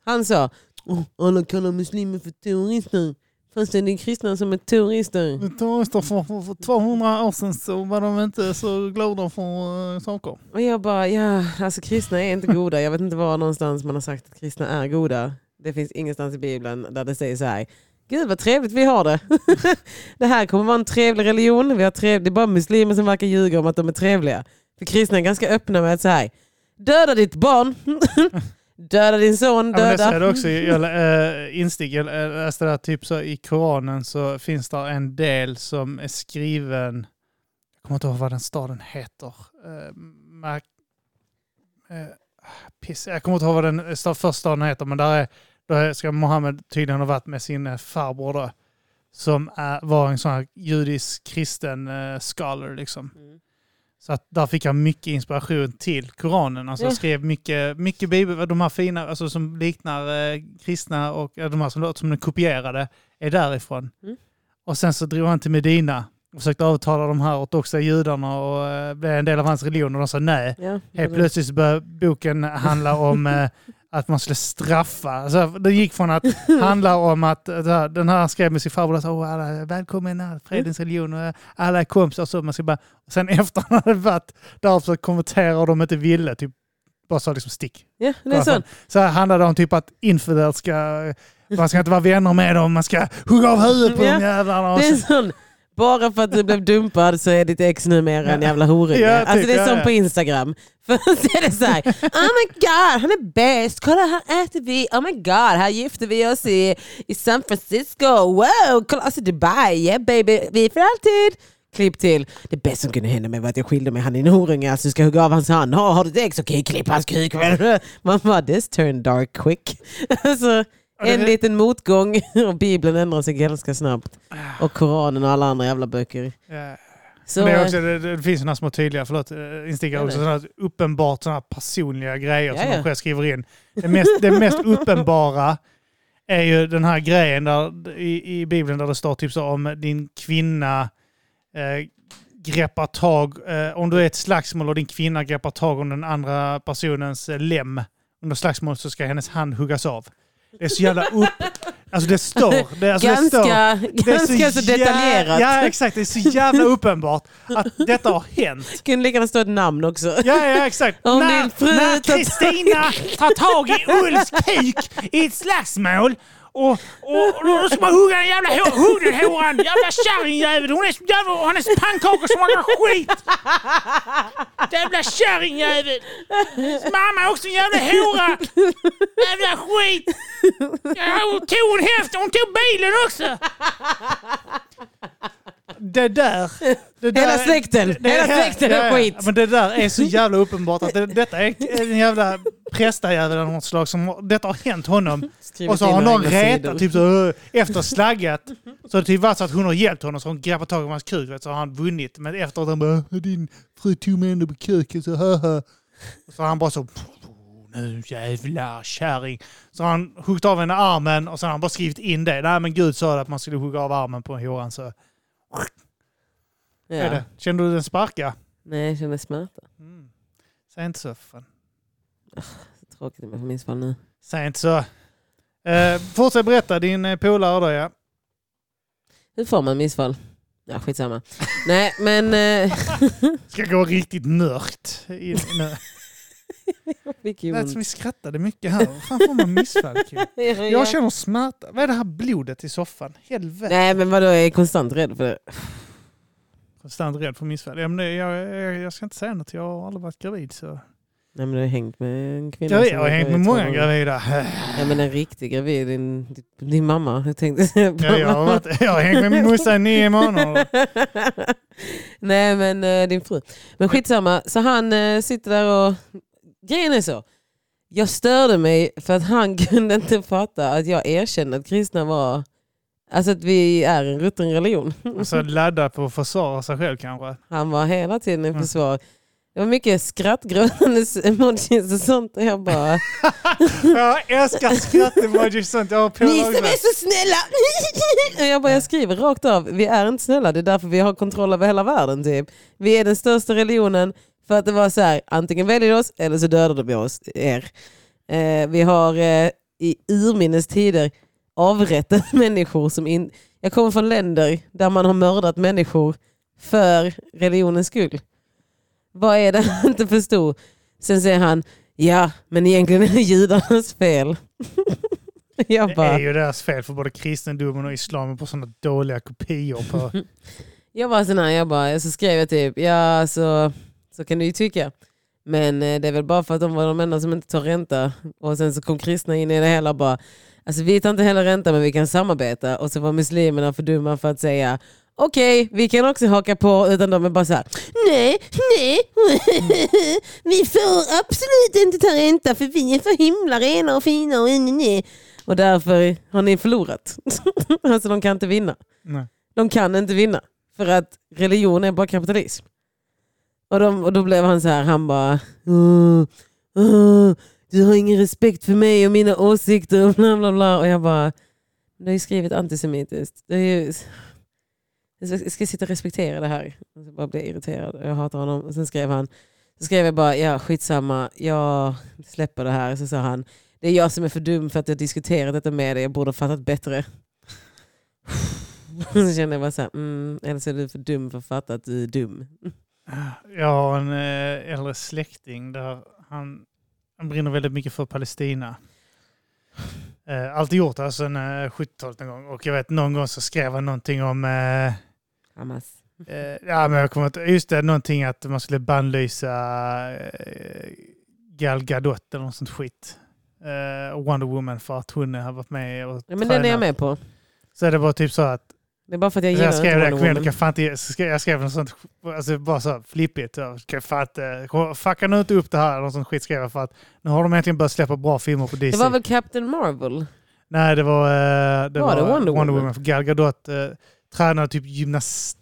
han sa oh, alla kallar muslimer för terrorister. Fast det är kristna som är terrorister.
Terrorister för, för, för 200 år sedan så var de inte så glada för eh, saker.
Och jag bara, ja, alltså kristna är inte goda. Jag vet inte var någonstans man har sagt att kristna är goda. Det finns ingenstans i Bibeln där det säger så här, gud vad trevligt vi har det. det här kommer vara en trevlig religion. Vi har trev... Det är bara muslimer som verkar ljuga om att de är trevliga. För kristna är ganska öppna med att så här, döda ditt barn, döda din son,
Ja, men det säger
döda.
det också i- jag, lä- eh, instick. Jag lä- läste det här, typ så i Koranen så finns det en del som är skriven, jag kommer inte ihåg vad den staden heter. Eh, Mac, eh, piss, jag kommer inte ihåg vad den sta- första staden heter, men där, är, där ska Mohammed tydligen ha varit med sin eh, farbror då, som är, var en sån här judisk kristen eh, scholar liksom. Så att där fick jag mycket inspiration till Koranen. Alltså jag
Ja.
skrev mycket, mycket bibel, de här fina, alltså som liknar eh, kristna och eh, de här som låter som de kopierade, är därifrån.
Mm.
Och sen så drog han till Medina och försökte övertala de här ortodoxa judarna och eh, blev en del av hans religion och de sa nej.
Ja,
Helt plötsligt så började boken handla om eh, att man skulle straffa. Alltså, den gick från att handla om att eh, det här- den här skrev med sin farbror och sa "Åh, alla är välkomna, fredens religion, och alla är kompisar och så. Man ska bara, och sen efter han hade varit där och försökt konvertera och de inte ville, typ, bara sa liksom stick.
ja, det är sånt.
Så här handlade det om typ att infidel ska, man ska inte vara vänner med dem, man ska hugga av huvudet på
Mm, Ja.
de jävlarna. Och
Det är
så,
sån, bara för att du blev dumpad så är ditt ex numera en jävla horunge.
Ja, typ,
alltså det är
ja,
som
ja.
på Instagram. Först är det så här, oh my god, han är bäst, kolla här äter vi, oh my god, här gifter vi oss i, i San Francisco, wow, kolla alltså Dubai, yeah baby, vi är för alltid. Klipp till, det bästa som kunde hända mig var att jag skilde mig, han är en horunge, alltså du ska hugga av hans hand, ha, har du ett ex, okej klipp hans kuk. Man bara, this turned dark quick. Alltså,
Ja, det-
en liten motgång och Bibeln ändrar sig ganska snabbt. Och Koranen och alla andra jävla böcker.
Ja.
Så,
Ah. Men det, är
eh,
också, det, det finns sådana små tydliga, förlåt, eh, instickare
Ja,
också,
det.
sådana här uppenbart sådana här personliga grejer som
Ja, ja.
de själv skriver in. Det mest, det mest uppenbara är ju den här grejen där, i, i Bibeln där det står typ så om din kvinna eh, greppar tag, eh, om du är ett slagsmål och din kvinna greppar tag om den andra personens eh, lem under slagsmål så ska hennes hand huggas av. Det är så jävla upp... Alltså det står. Det, alltså det står.
ganska
Det är
ganska så,
jä-
detaljerat.
Ja, exakt. Det är så jävla uppenbart att detta har hänt.
Kunde lika gärna stå ett namn också.
Ja, ja exakt.
Om
när
din fru
när
tar tag-
Kristina tar tag i Ulfs kuk i ett slagsmål och, och, och då ska man hugga den jävla hå- hundelhoran, jävla kärringjävel. Hon är som jävla, och hennes pannkakor smakar skit. Jävla kärringjävel. Mamma är också en jävla hora. Jävla skit. Ja, hon tog en häst hon tog bilen också. Det där. Det där
Hela släkten, hela släkten är skit.
Men det där är så jävla uppenbart att det, detta är en jävla prästajävel av något slag. Som, har- detta har hänt honom.
Skrivit
Och så
in
har någon
några egna
retat,
sidor.
typ så, "Åh", efter slagget. Så det typ var så att hon har hjälpt honom så hon greppar tag i hans kuk. Vet, så har han vunnit. Men efteråt han bara "Åh, din fru tog mig ändå på kuken så haha. Och så har han bara så nu jävlar kärring. Så har han huggit av henne armen och så har han bara skrivit in det. Nej men gud sa det att man skulle hugga av armen på en horan så. Är
Ja.
det. Kände du den sparka?
Nej, jag känner smärta.
Mm. Säg inte så för fan.
Så Tråkigt om jag får missfall nu.
Säg inte så. Eh, fortsätt berätta din eh, polare då ja.
Hur får man missfall? Ja, skitsamma. Nej, men... Eh,
Ska gå riktigt nördigt in nu.
fick
Det
ju
lät
ont.
som vi skrattade mycket här. Fan får man missfall Kim? Jag känner smärta. Vad är det här blodet i soffan? Helvete.
Nej, men vadå, jag är konstant rädd för det.
Konstant rädd för missfall. Ja, men det, jag, jag, jag ska inte säga något. Jag har aldrig varit gravid. Så.
Nej, men du har hängt med en kvinna.
Jag,
som
jag har
är
hängt med
gravid två
många
gånger.
gravida.
Ja, men en riktig gravid. Din, din mamma. Jag tänkte säga
Ja, jag, har varit, jag har hängt med min morsa i nio månader.
Nej men eh, din fru. Men skitsamma, så han eh, sitter där och... Grejen är så. Jag störde mig för att han kunde inte fatta att jag erkände att kristna var... Alltså att vi är en rutten religion.
Och så ladda på att försvara sig själv kanske.
Han var hela tiden i
Mm.
försvar. Det var mycket skrattgråtandes emojis och sånt. Och jag bara...
Jag älskar skrattemojis och sånt. Jag har på
Ni som
också.
är så snälla! Och jag bara, jag skriver rakt av, vi är inte snälla, det är därför vi har kontroll över hela världen. Typ. Vi är den största religionen för att det var så här, antingen väljer du oss eller så dödar de oss, er. Eh, vi har eh, i urminnes tider avrättat människor som in... Jag kommer från länder där man har mördat människor för religionens skull. Vad är det han inte förstod? Sen säger han, ja men egentligen är det judarnas fel. jag
Det är
bara,
ju deras fel för både kristendomen och islamen på sådana dåliga kopior. På.
Jag var sån här, jag bara, så skrev jag typ, ja så, så kan du ju tycka. Men eh, det är väl bara för att de var de enda som inte tar ränta. Och sen så kom kristna in i det hela och bara, alltså vi tar inte heller ränta men vi kan samarbeta. Och så var muslimerna för dumma för att säga, okej vi kan också haka på. Utan de är bara så här, nej, nej, vi får absolut inte ta ränta för vi är för himla rena och fina och nej, nej. Och därför har ni förlorat. alltså de kan inte vinna.
Nej.
De kan inte vinna. För att religion är bara kapitalism. Och, de, och då blev han så här, han bara... "Åh, åh, du har ingen respekt för mig och mina åsikter och bla bla bla. Och jag bara, du har ju skrivit antisemitiskt. Det är ju, jag ska- jag ska sitta och respektera det här. Jag ska bara bli irriterad. Jag hatar honom. Och sen skrev han, så skrev jag bara, ja skitsamma, jag släpper det här. Så sa han, det är jag som är för dum för att jag diskuterat detta med dig. Jag borde ha fattat bättre. Så kände jag bara så här, mm, eller så är du för dum för att fatta att du är dum.
Jag har en eh, äldre släkting där han, han brinner väldigt mycket för Palestina. Eh, alltid gjort det sedan eh, 70-talet någon gång. Och jag vet någon gång så skrev han någonting om eh,
Hamas.
Eh, ja, men jag kommer inte... Just det, någonting att man skulle bannlysa eh, Gal Gadot eller något sånt skit. Eh, och Wonder Woman för att hon har varit med och
Ja, men den är jag med på.
Så det var typ så att...
Det är bara för att jag
Jag,
gillar
jag skrev det,
inte Wonder
jag, jag,
Woman.
jag, fan inte, jag skrev- jag skrev något sånt, alltså bara så här flippigt. så här, ska Jag fan inte, fucka nu inte upp det här eller något sånt skit skrev jag för att nu har de äntligen börjat släppa bra filmer på
Det
DC.
var väl Captain Marvel?
Nej, det var, eh, det
Var
var,
det Wonder
Wonder,
Woman?
Woman. För Gal Gadot eh, tränade typ gymnastik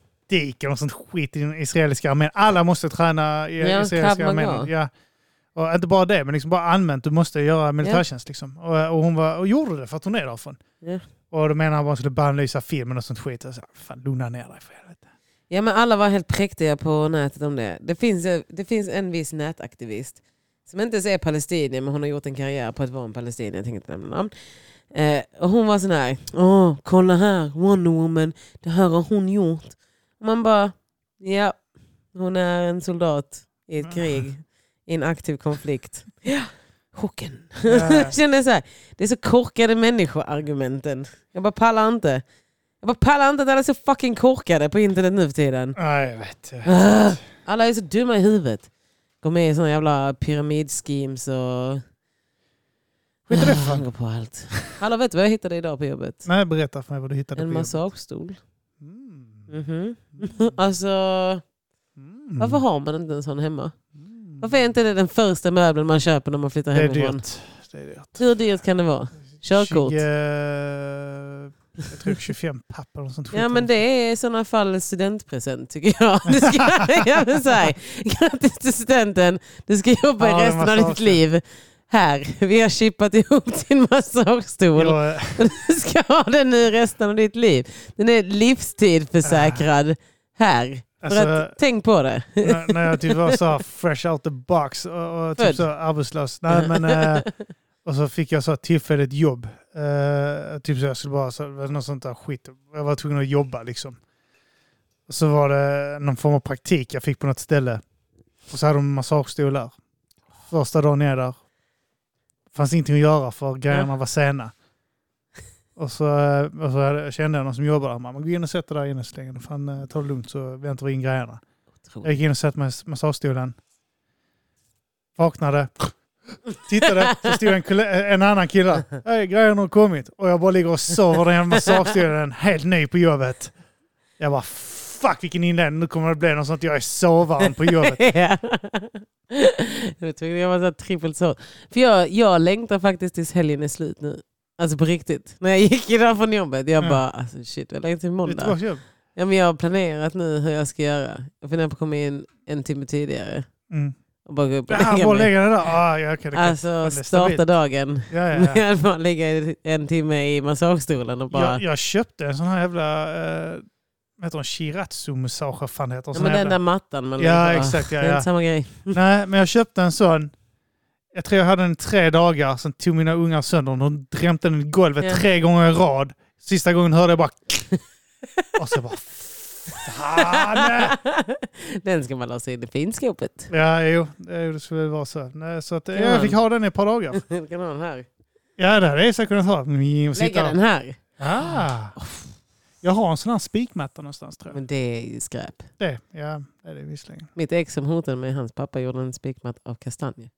eller något sånt skit i den israeliska armén. Alla måste träna i
Ja, Krav
israeliska
Maga.
armén. Ja. Och inte bara det, men liksom bara allmänt. Du måste göra militärtjänst. Liksom. Och, och hon var, och gjorde det för att hon är därifrån.
Ja.
Och då menar han bara att hon skulle bannlysa filmen och sånt skit. Jag sa, fan lugna ner dig för helvete.
Ja men alla var helt präktiga på nätet om det. Det finns, det finns en viss nätaktivist som inte ens är palestinier men hon har gjort en karriär på att vara en palestinier. Jag tänker inte nämna namn. Eh, och hon var sån här, åh kolla här Wonder Woman, det här har hon gjort. Och man bara, ja hon är en soldat i ett krig, i en aktiv konflikt. Ja, chocken.
Ja.
Jag kände så här, det är så korkade människoargumenten. Jag bara pallar inte. Jag bara pallar inte att alla är så fucking korkade på internet nu för tiden.
Nej, jag vet.
Ah, Alla är så dumma i huvudet. Går med i såna jävla pyramidschemes och...
Skit i det för
Ah,
fan.
går på allt. Hallå, vet du vad jag hittade idag på jobbet?
Nej, berätta för mig vad du hittade.
En
på jobbet.
massagestol.
Mm.
Mhm. Alltså, varför har man inte en sån hemma?
Mm.
Varför är inte det den första möbeln man köper när man flyttar
Det är
hemifrån?
dyrt. Det är dyrt.
Hur dyrt kan det vara? Körkort?
20, jag tror 25 papp eller något sånt.
Ja men det är i sådana fall studentpresent tycker jag. Du ska, jag vill säga, grattis till studenten, du ska jobba
Ja, det är
i resten av ditt
massage.
liv. Här, vi har chippat ihop din massagestol.
Jag, eh,
Du ska ha den nu resten av ditt liv. Den är livstidförsäkrad här.
alltså,
För att, tänk på det.
när, när jag typ var så här fresh out the box och, och
Född.
eh, typ så arbetslös. Nej, men, eh, och så fick jag så här tillfälligt jobb Eh, typ så jag skulle bara, så, det var något sånt där skit. Jag var tvungen att jobba liksom. Och så var det någon form av praktik jag fick på något ställe. Och så hade de massagestolar. Första dagen jag är där. Fanns ingenting att göra för grejerna var sena. Och så, eh, och så hade- kände jag någon som jobbade där. Man gå in och sätt dig där inne så länge. du Fan, eh, ta det lugnt så väntar vi in grejerna. Jag gick in och satt mig i massagestolen. Vaknade. Tittade, så stod en, kolle- en annan kille där. Hej, grejerna har kommit. Och jag bara ligger och sover i den jävla massagestolen, helt ny på jobbet. Jag bara, fuck vilken inledning, nu kommer det bli något sånt, jag är sovaren på jobbet.
Ja. Jag tror jag var så här trippelt så. För jag, jag längtar faktiskt tills helgen är slut nu. Alltså på riktigt. När jag gick idag från jobbet, jag
Ja.
bara alltså shit, jag längtar till
Det är ett bra
måndag.
jobb.
Ja, men jag har planerat nu hur jag ska göra. Jag funderar på att komma in en timme tidigare
Mm.
och bara gå upp och
Ja,
lägga
bara
mig.
lägga det där. Ah, ja, okay, det kan-
Alltså
det är
starta
stabilt.
dagen
ja, ja, ja.
med att bara ligga en timme i massagestolen och bara...
Jag, jag köpte en sån här jävla, eh, vad heter hon, shiratsu-massage, vad fan heter
Ja,
sån
men
jävla-
den där mattan man
Ja,
lägger på.
exakt. Ja,
Det är
ja.
inte samma grej.
Nej, men jag köpte en sån. Jag tror jag hade den i tre dagar, sen tog mina ungar sönder den. De drämte den i golvet
Ja.
tre gånger i rad. Sista gången hörde jag bara... Och så bara... Fan! eh."
den ska man låsa in i finskåpet.
Ja, jo, jo, det skulle väl vara så. Nej, så att, ja,
Ja.
jag fick ha den i ett par dagar.
Den kan ha den här.
Ja, det hade jag säkert kunnat ha. Mm, och
Lägga
sitta
den här.
Ah. Jag har en sån här spikmatta någonstans tror jag.
Men det är ju skräp.
Det, ja, det är det visserligen.
Mitt ex som hotade mig, hans pappa gjorde en spikmatta av kastanjer.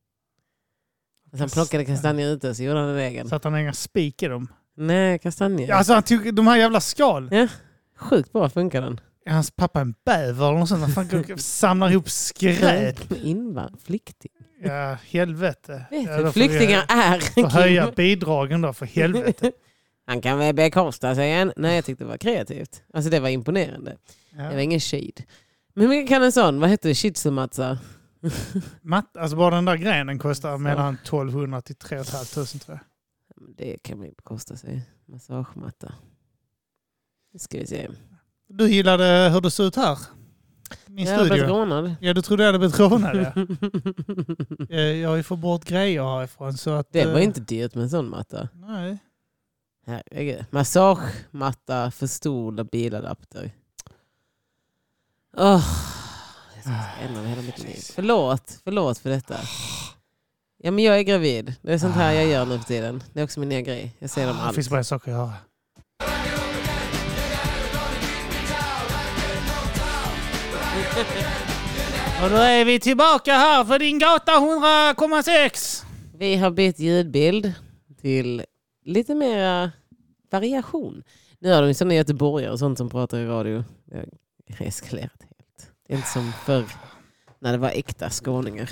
Alltså han
Kastanjer.
plockade kastanjer ute så gjorde han en egen.
Så att han har inga spik i dem.
Nej, kastanjer.
Ja, Alltså han tog de här jävla skal.
Sjukt bra funkar den.
Är hans pappa en bäver eller något sånt? Han fan går och samlar ihop skräp.
Skräp med invandrare. Flykting.
Ja, helvete.
Vet
ja,
du,
då får vi-
flyktingar är
Får höja bidragen då, för helvete.
Han kan väl bekosta sig en. Nej, jag tyckte det var kreativt. Alltså det var imponerande. Det var
Ja.
ingen shade. Men hur mycket kan en sån, vad heter det, shitsumatsa?
Matt, alltså bara den där grenen kostar mellan 1200 till 3 500 tror jag.
Det kan man ju bekosta sig. Massagematta. Nu ska vi se.
Du gillade hur det såg ut här? Min
jag har blivit
studio?
rånad.
Ja, du trodde jag hade blivit rånad ja. Eh, Jag har ju fått bort grejer härifrån så att...
det var
eh,
ju inte dyrt med en sån matta.
Nej.
Herregud. Massagematta för stol och biladapter. Åh, jag ska
Ah.
inte ändra hela mitt liv. Förlåt, förlåt för detta. Ja, men jag är gravid. Det är sånt här jag gör nu för tiden. Det är också min nya grej. Jag ser dem
Ah, Det finns
allt.
bara saker att göra. Och då är vi tillbaka här för din gata 100,6.
Vi har bytt ljudbild till lite mera variation. Nu har de ju sådana göteborgare och sånt som pratar i radio. Det har eskalerat helt. Det är inte som förr när det var äkta skåningar.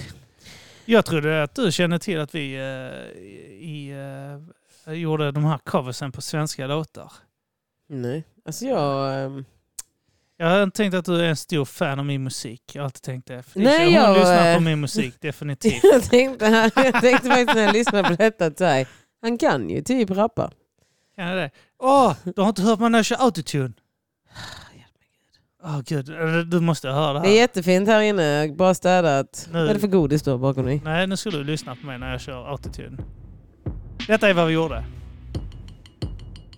Jag trodde att du kände till att vi eh, i, eh, gjorde de här coversen på svenska låtar.
Nej, alltså jag... ehm,
Jag har inte tänkt att du är en stor fan av min musik. Jag har alltid tänkt det. Felicia,
Nej,
hon
jag,
lyssnar på
eh,
min musik, definitivt.
Jag tänkte, jag tänkte faktiskt när jag lyssnade på detta att så här, han kan ju typ rappa.
Kan jag det? Åh, du har inte hört man kör autotune? Åh gud, du måste höra det
Det är
här.
jättefint här inne, bara städat.
Nu.
Vad är det för godis du har bakom dig?
Nej, nu skulle du lyssna på mig när jag kör autotune. Detta är vad vi gjorde.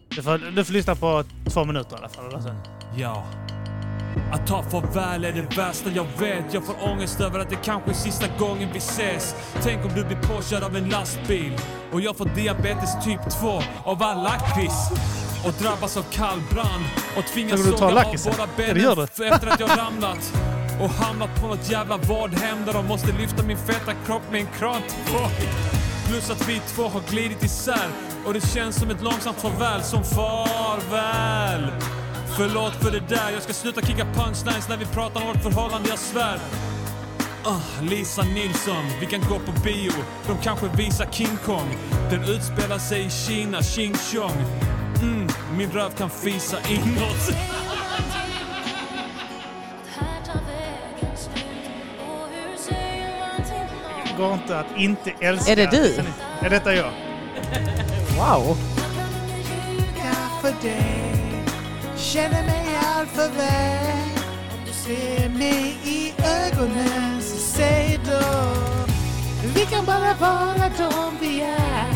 Du får, du får lyssna på två minuter i alla fall. eller så.
Ja. Att ta farväl är det värsta jag vet. Jag får ångest över att det kanske är sista gången vi ses. Tänk om du blir påkörd av en lastbil och jag får diabetes typ 2 av all lakrits och drabbas av kallbrand och tvingas
Tänker du ta
såga av
lakritsen?
båda
Ja,
benen
det gör du.
för efter att jag ramlat och hamnat på något jävla vadhem där de måste lyfta min feta kropp med en krantbåge. Plus att vi två har glidit isär och det känns som ett långsamt farväl som farväl. Förlåt för det där, jag ska sluta kicka punchlines när vi pratar om vårt förhållande, jag svär. Ah, Lisa Nilsson, vi kan gå på bio. De kanske visar King Kong. Den utspelar sig i Kina, Xing Chong. Mm, min röv kan fisa inåt.
Här tar vägen slut och hur säger man till någon?
Det går inte att inte älska.
Är det du?
Är detta jag?
Wow!
Jag kan inte ljuga
för dig Känner mig allt för väl Om du ser mig i ögonen så säg då Vi kan bara vara de vi är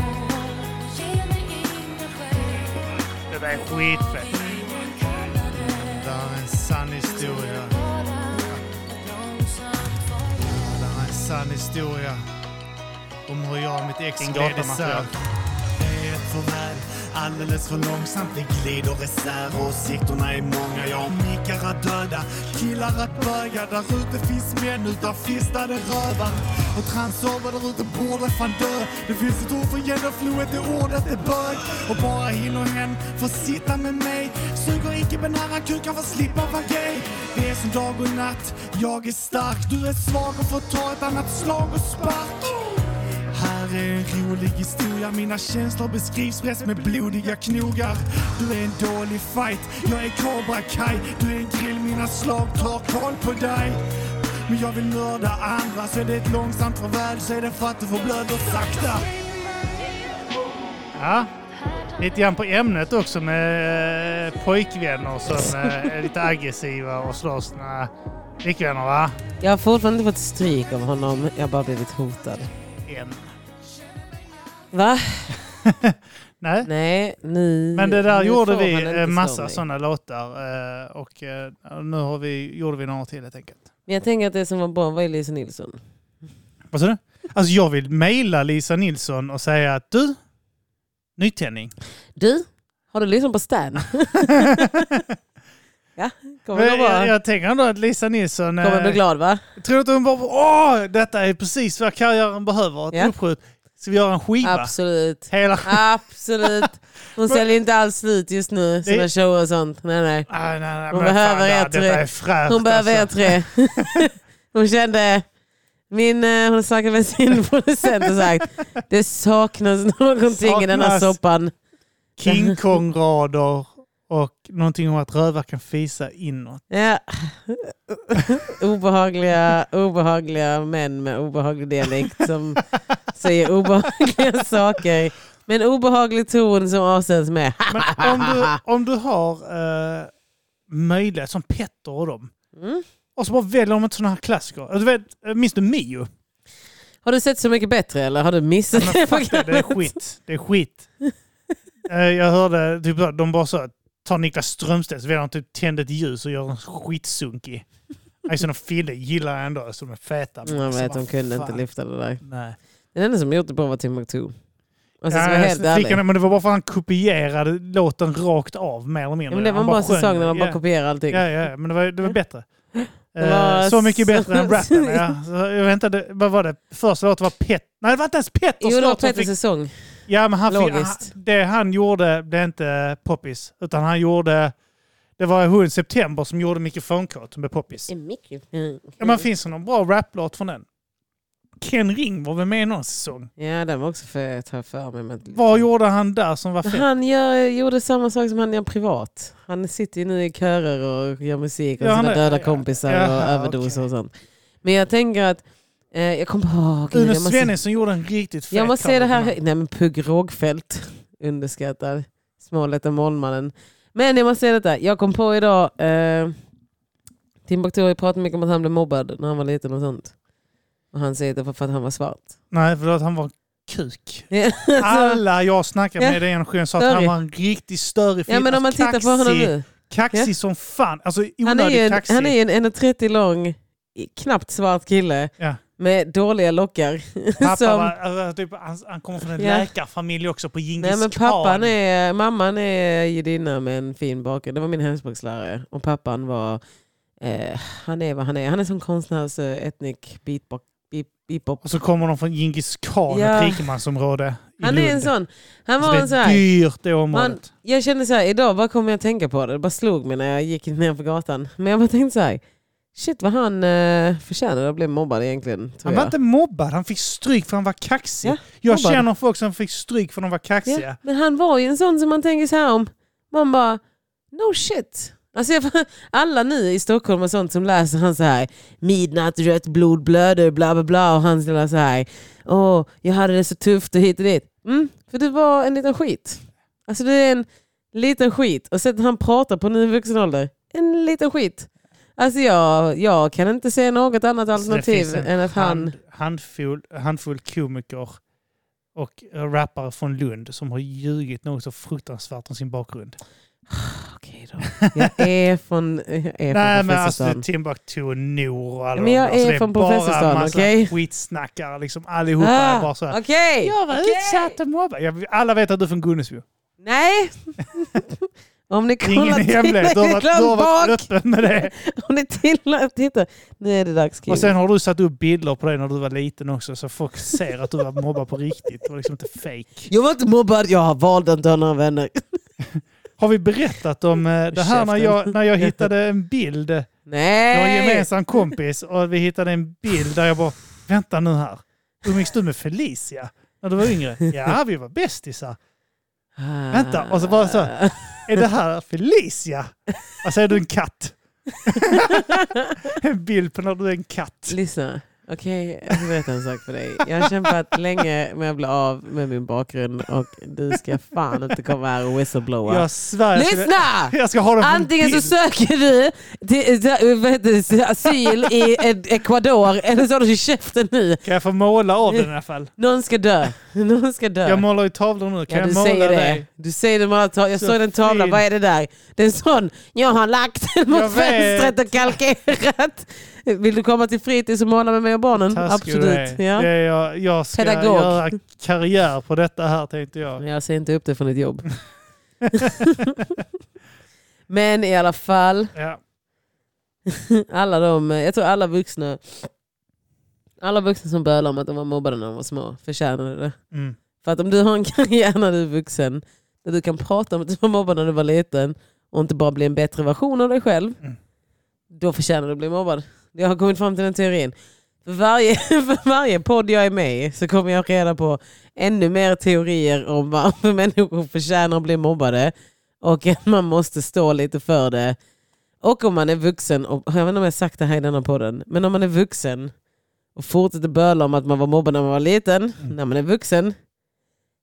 Ge mig inga
Det är skitfett. Det här är en sann historia. Det här är en sann historia. Om hur jag och mitt ex
En
gled
gatamaterial.
isär.
Det är ett förvärv Alldeles för långsamt, det glider isär Åsikterna är många, jag har mickar att döda Killar att böga, där ute finns män utan fistade rövar Och transsover där ute borde fan dö Det finns ett ord för genderfluet, det ordet är bög Och bara hinner hem för att sitta med mig Suger icke-binära kukar för att slippa vara gay Det är som dag och natt, jag är stark Du är svag och får ta ett annat slag och spark här är en rolig historia, mina känslor beskrivs bäst med blodiga knogar. Du är en dålig fight, jag är Cobra Kai. Du är en grill, mina slag tar koll på dig. Men jag vill mörda andra, så är det ett långsamt förvärv så är det för att du förblöder sakta.
Ja. Lite grann på ämnet också med eh, pojkvänner som eh, är lite aggressiva och slår sina flickvänner va?
Jag har fortfarande inte fått stryk av honom. Jag har bara blivit hotad.
En.
Va?
Nej.
Nej, ni...
Men det där
nu
gjorde
får
vi
man inte
eh,
slå
massa
mig.
sådana låtar eh, och eh, nu har vi, gjorde vi några till helt enkelt.
Men jag tänker att det som var bra var ju Lisa Nilsson.
Vad sa du? Alltså jag vill mejla Lisa Nilsson och säga att du, nytändning.
Du, har du lyssnat på Stan? ja, kommer det gå
Men Jag,
bra?
jag tänker ändå att Lisa Nilsson...
Kommer du bli
eh,
glad va?
Tror du att hon bara åh, detta är precis vad karriären behöver, ett
Ja.
uppskjut. Ska vi göra en skiva?
Absolut.
Hela
Absolut. Hon säljer inte alls slut just nu, sina
Det-
shower och sånt. Nej, nej.
Ah, Nej, nej, nej,
Hon
men
behöver
fan,
er
nej, Detta
tre.
är fräscht. alltså.
Hon behöver er tre. Hon kände, min, eh, hon snackade med sin producent och sagt, det saknas någonting i den här
Saknas.
soppan.
King Kong-rader och någonting om att rövar kan fisa inåt.
Ja. Obehagliga, obehagliga män med obehaglig dialekt som säger obehagliga saker. Med en obehaglig ton som avsänds med.
Men om du, om du har eh, möjlighet, som Petter och dem,
Mm.
och så bara väljer de inte sådana här klassiker. Du vet, minns du Mio?
Har du sett Så mycket bättre eller har du missat
Men
det?
fuck det, det är skit. Det är skit. Eh, jag hörde, typ, så här, de bara så tar Niklas Strömstedt så väljer de typ tänd ett ljus och gör en skitsunkig. Ison och Fille gillar jag ändå, så de är feta. men
Jag
alltså,
vet,
vad
hon kunde
fan.
inte lyfta det där.
Nej.
Den enda som gjort det bra var Timbuktu. Alltså, som är
Ja,
helt
så fick
ärlig.
han, det, men det var bara för att han kopierade låten rakt av mer eller
Ja,
mindre.
men det var
Han
en bra
sjöng
säsong
den.
när man
ja.
bara kopierade allting.
Ja, ja, men det var, det var bättre. Eh,
var
så mycket
så-
bättre än rappen. Ja. Så jag vet inte, det- vad var det? Första låten var Pet... Nej, det var inte ens Petters
Jo, det var
låt som
Petters säsong.
Ja, men han fick, han,
Logiskt.
det han gjorde blev inte poppis, utan han gjorde... Det var hon September som gjorde mikrofonkåt med poppis. Ja, men finns det någon bra raplåt från den? Ken Ring var väl med i någon säsong?
Ja, den var också fet har jag för mig. Men...
Vad gjorde han där som var fett?
Han gör, gjorde samma sak som han gör privat. Han sitter ju nu i körer och gör musik och
Ja,
sina
han är-
döda
ja.
kompisar och
Jaha,
överdoser och sånt. Men jag tänker att, eh, jag kommer ihåg,
Uno alltså.
gud, jag måste,
Svenningsson gjorde en riktigt fet
jag måste se det här,
cover.
nej men Pugh Rågfeldt, underskattad, smålätta målmannen. Men jag måste säga detta, jag kom på idag, eh, Timbuktu har ju pratat mycket om att han blev mobbad när han var liten och sånt. Och han säger det var för att han var svart.
Nej, för att han var en kuk.
Alltså,
Alla jag snackade med i den generationen sa att han
Störig.
var en riktigt störig
ja men om man
Alltså,
tittar på honom
kaxig-
nu.
Kaxig
Ja.
som fan. Alltså
Han är, ju
onödigt
en,
kaxig.
han är ju en 1,30 lång, i- knappt svart kille
Ja.
med dåliga lockar.
Pappa
som-
var, alltså, typ, han, han kommer från en
Ja.
läkarfamilj också på Djingis
Nej, men
khan.
pappan är, mamman är judinna med en fin bakgrund. Det var min hemspråkslärare. Och pappan var, eh, han är vad han är. Han är som konstnärs eh, etnik beatbox. beat- beatbop.
Och så kommer de från Djingis khan,
Ja.
ett rikemansområde i
Han är en
Lund. Alltså,
sån. Han var
det
en
är
sån här.
dyrt det området.
Jag kände så här, idag bara kom jag att tänka på det. Det bara slog mig när jag gick ner för gatan. Men jag bara tänkte så här, shit vad han eh, förtjänade att bli mobbad egentligen. Tror
Han var
jag.
inte mobbad, han fick stryk för han var kaxig.
Ja,
jag
mobbad.
känner folk som fick stryk för de var kaxiga.
Ja, men han var ju en sån som man tänker så här om. Man bara, no shit. Alltså jag, alla ni i Stockholm och sånt som läser han så här midnatt, rött blod, blöder, bla bla bla och han lilla så här åh, jag hade det så tufft och hit och dit. Mm, för det var en liten skit. Alltså det är en liten skit. Och sättet han pratar på nu i vuxen ålder, en liten skit. Alltså jag, jag kan inte se något annat
Så det
alternativ
finns en
än att han...
hand, handfull, handfull komiker och eh, rappare från Lund som har ljugit något så fruktansvärt om sin bakgrund.
Okej då. Jag är från, jag är
Nej
från
men alltså
Professorsson.
Timbuktu och Noor och alla
Men jag
de där. alltså,
är
det
från
bara
Professorsson,
massa
okej?
skitsnackare liksom. Allihopa är bara så här.
ah, Okej.
Jag var utsatt och mobbad. Jag- Alla vet att du är från Gunnesbo.
Nej. Om ni
Ingen
kollar
hemlighet. Du har varit, du
tillräckligt
har varit
långt bak.
öppen med det.
Om ni tillräckligt tittar. Nu är det dags Kim.
Och sen har du satt upp bilder på dig när du var liten också så folk ser att du var mobbad på riktigt. Det var liksom inte fake.
Jag var inte mobbad, jag valde inte att ha några vänner.
Har vi berättat om eh, det här när jag, när jag hittade en bild? Jag har en
Nej!
gemensam kompis och vi hittade en bild där jag bara, vänta nu här. Umgicks du med Felicia när du var yngre? Ja, vi var bästisar.
Ah.
Vänta, och så bara så. Är det här Felicia? Alltså är du en katt? en bild på när du är en katt.
Lyssna, okej jag ska berätta en sak för dig. Jag har kämpat länge med att bli av med min bakgrund och du ska fan inte komma här och whistleblowa.
Jag svär. jag skulle-
Lyssna!
Jag ska ha den på en
Antingen så
bild.
söker du till, till, vad heter det, asyl i Ed- Ecuador eller så har du i käften nu.
Kan jag få måla av den i alla fall?
Någon ska dö. Någon ska dö.
Jag målar ju tavlor nu. Kan
ja, du
jag måla
säger det.
dig?
Du säger det. Man jag
Så
såg den tavlan,
fin.
vad är det där? Det är en sån. Jag har lagt den mot
Jag vet.
fönstret och kalkerat. Vill du komma till fritids och måla med mig och barnen?
Taskig du
Absolut.
är.
Ja.
Det är jag, jag ska
Pedagog.
göra karriär på detta här tänkte jag.
Men jag ser inte upp det från ditt jobb. Men i alla fall,
Ja.
alla de, jag tror alla vuxna alla vuxna som bölar om att de var mobbade när de var små förtjänade det.
Mm.
För att om du har en karriär när du är vuxen, där du kan prata om att du var mobbad när du var liten och inte bara bli en bättre version av dig själv,
Mm.
då förtjänar du att bli mobbad. Jag har kommit fram till den teorin. För varje, för varje podd jag är med i så kommer jag reda på ännu mer teorier om varför människor förtjänar att bli mobbade och att man måste stå lite för det. Och om man är vuxen, och, jag vet inte om jag har sagt det här i denna podden, men om man är vuxen och fortsätter böla om att man var mobbad när man var liten, när man är vuxen,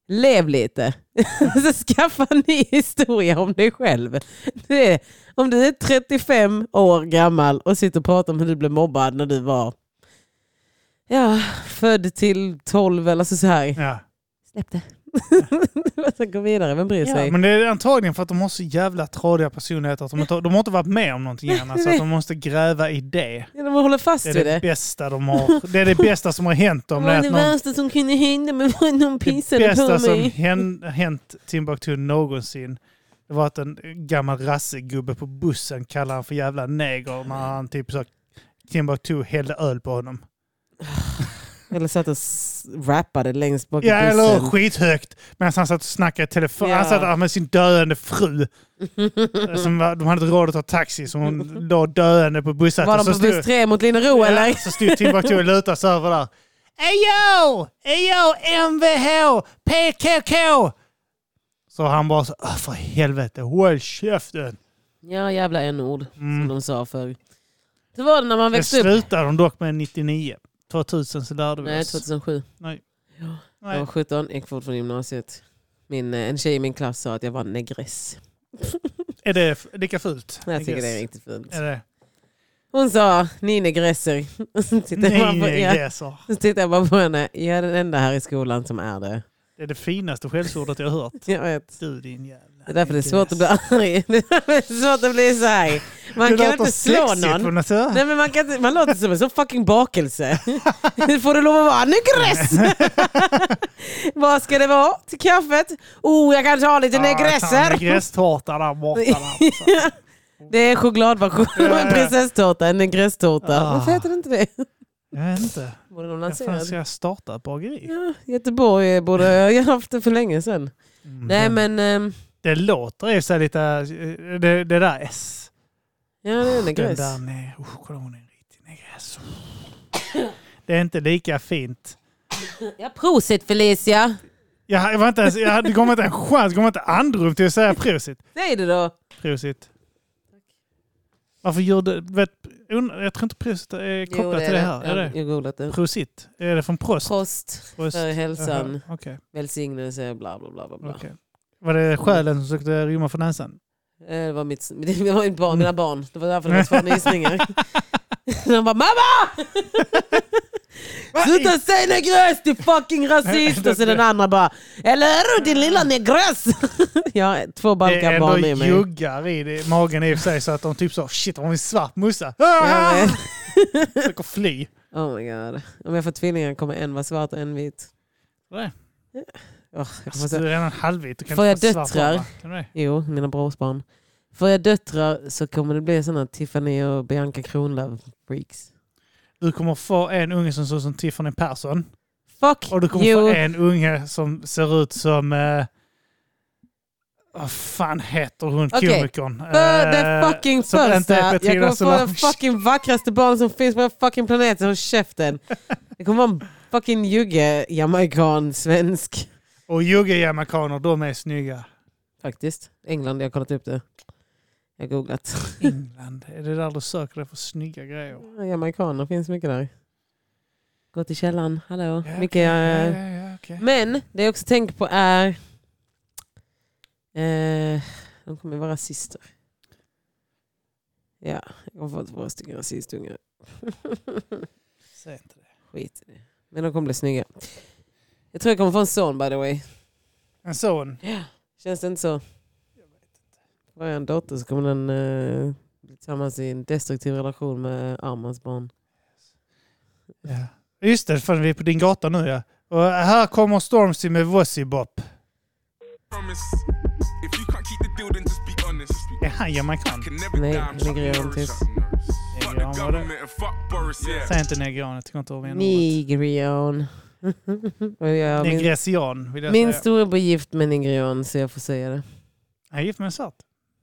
lev lite. så skaffa en ny historia om dig själv. Det är, om du är 35 år gammal och sitter och pratar om hur du blev mobbad när du var ja, född till 12 eller så, så här.
Ja.
Släpp det. Så Gå vidare, vem bryr sig?
Men det är antagligen för att de har så jävla tradiga personligheter. att De, inte, de har inte varit med om någonting annat så att de måste gräva i det.
Ja, de håller fast
Det är
vid
det
det.
bästa de har. Det är det bästa som har hänt
Det
dem. Det, är
var
att
det
någon,
värsta som kunde hända men var någon
det
pissade på
bästa som
mig.
hän- hänt Timbuktu någonsin det var att en gammal rassegubbe på bussen kallade han för jävla neger när han typ så Timbuktu hällde öl på honom.
Eller satt och s- rappade längst bak i
Ja, eller
bussen.
skithögt. Medan han satt och snackade i telefon.
Ja.
Han satt där med sin döende fru. Eh, som var, de hade inte råd att ta taxi, så hon låg döende på bussen.
Var de
så
på buss 3 mot Linnero
Ja,
eller?
så stod Timbuktu och lutade sig över där. Ejo! Ejo! MVH! PKK! Så han bara så, "Åh, för helvete, håll käften.
Ja, jävla n-ord som
Mm.
de sa förr. Så var det när man
Det
växte upp.
slutade de dock med 99. 2000 så lärde vi
Nej,
oss.
2007. Jag var
Nej.
17, gick fort från gymnasiet. Min, eh, en tjej i min klass sa att jag var en negress.
Är det f- lika fult?
Jag tycker
Yes.
det är riktigt fint.
Är det?
Hon sa, ni negresser. Och så tittade jag
Nej,
bara på-
nej,
ja,
det så.
så tittade jag bara på henne. Jag är den enda här i skolan som är det.
Det är det finaste skällsordet jag hört.
Jag vet.
Du din jävla...
Det är därför det är svårt att bli
alltså.
arg. Det är därför det är svårt att bli så här. Man kan inte slå någon. Nej, men man, kan inte, man låter som en sån fucking bakelse. Får du lov att vara negress? Vad ska det vara till kaffet? Oh, jag kan ta lite
Ah,
negresser.
Negresstårta där borta. Där. Så.
Det är chokladversion av en
Ja, ja.
prinsesstårta, en negresstårta.
Ah.
Varför heter det inte det?
Jag vet inte.
Borde de
Jag
lansera
fan ska
det?
jag starta ett bageri?
Ja, Göteborg borde jag haft det för länge sedan.
Mm.
Nej men, ehm,
Det låter ju så här lite... eh, Det, det där S.
ja det är
Den
negress.
där nere. Oh, kolla hon är en riktig negress. Det är inte lika fint.
Ja, prosit Felicia!
Jag, jag var inte ens, jag hade, det kommer inte en chans, det kommer inte andrum till att säga prosit.
Säg det då!
Prosit. Varför gör du... Vet, und- jag tror inte prosit är kopplat
Jo,
till det här. Är
Ja,
det?
Jag har googlat det.
Prosit? Är det från prost?
Prost
Prost.
för
Jaha,
hälsan,
Okej.
välsignelse, bla bla bla. bla, bla.
okej. Var det själen som försökte rymma från näsan?
Eh, Det var, mitt, det var mitt barn, mina barn. Det var därför det var två nysningar. Han bara mamma! Sluta säga negrös du fucking rasist! Och så den andra bara, eller är du din lilla negrös? Jag har två
Det är
balkar barn med
ändå
mig.
juggar i det, magen i och för sig så att de typ så shit har vi en svart mussa?
Jag
Ah!
vet.
Försöker fly.
Oh my god. Om jag får tvillingar kommer en vara svart och en vit.
Nej.
Åh, jag kommer
Alltså,
så...
du är redan halvvit. Du kan
Får
inte
jag
få svart
döttrar?
mamma. Kan du det?
Jo, mina brorsbarn. Får jag döttrar så kommer det bli sådana Tiffany och Bianca Kronlöf-freaks.
Du kommer få en unge som ser ut som Tiffany Persson.
Fuck
Och du kommer
you!
få eh, en unge som ser ut som... Eh, vad fan heter hon
Okej.
komikern?
För
Eh,
det fucking
som inte
första.
är
Jag
Petrina
kommer få
Solange.
det fucking vackraste barn som finns på den fucking planeten. Håll käften. Det kommer vara en fucking jugge, jamaican, svensk.
Och jugge-jamaicaner, de är snygga.
Faktiskt. England, jag har kollat upp det. Jag har googlat.
England, är det där du söker dig för snygga grejer?
Jamaicaner finns mycket där. Gå till källan, hallå.
Ja,
Mycket,
okej.
eh,
Ja, ja, ja, okej.
Men det jag också tänker på är... Eh, de kommer vara rasister. Ja, jag kommer få två stycken rasistungar.
Säg inte det.
Skit i det. Men de kommer bli snygga. Jag tror jag kommer få en son by the way.
En son.
Känns det inte så? Får jag en dotter så kommer den eh, bli tillsammans i en destruktiv relation med Armans barn.
Ja. Just det, för vi är på din gata nu ja. Och här kommer Stormzy med Vossibop.
promise. If you can't keep the deal, then just be honest.
Är han jamaican?
Can never
Nej,
die, I'm trying to
Nigerian
nourish
tips.
up. Fuck
Nigerian,
the
var det?
government and fuck Boris, yeah.
Säg inte negran, jag tycker inte om ordet.
Nigerian. Och jag, min
Negresian vill jag
min
säga.
storebror är gift med en nigerian så jag får säga det.
Han är gift med en Mhm. svart.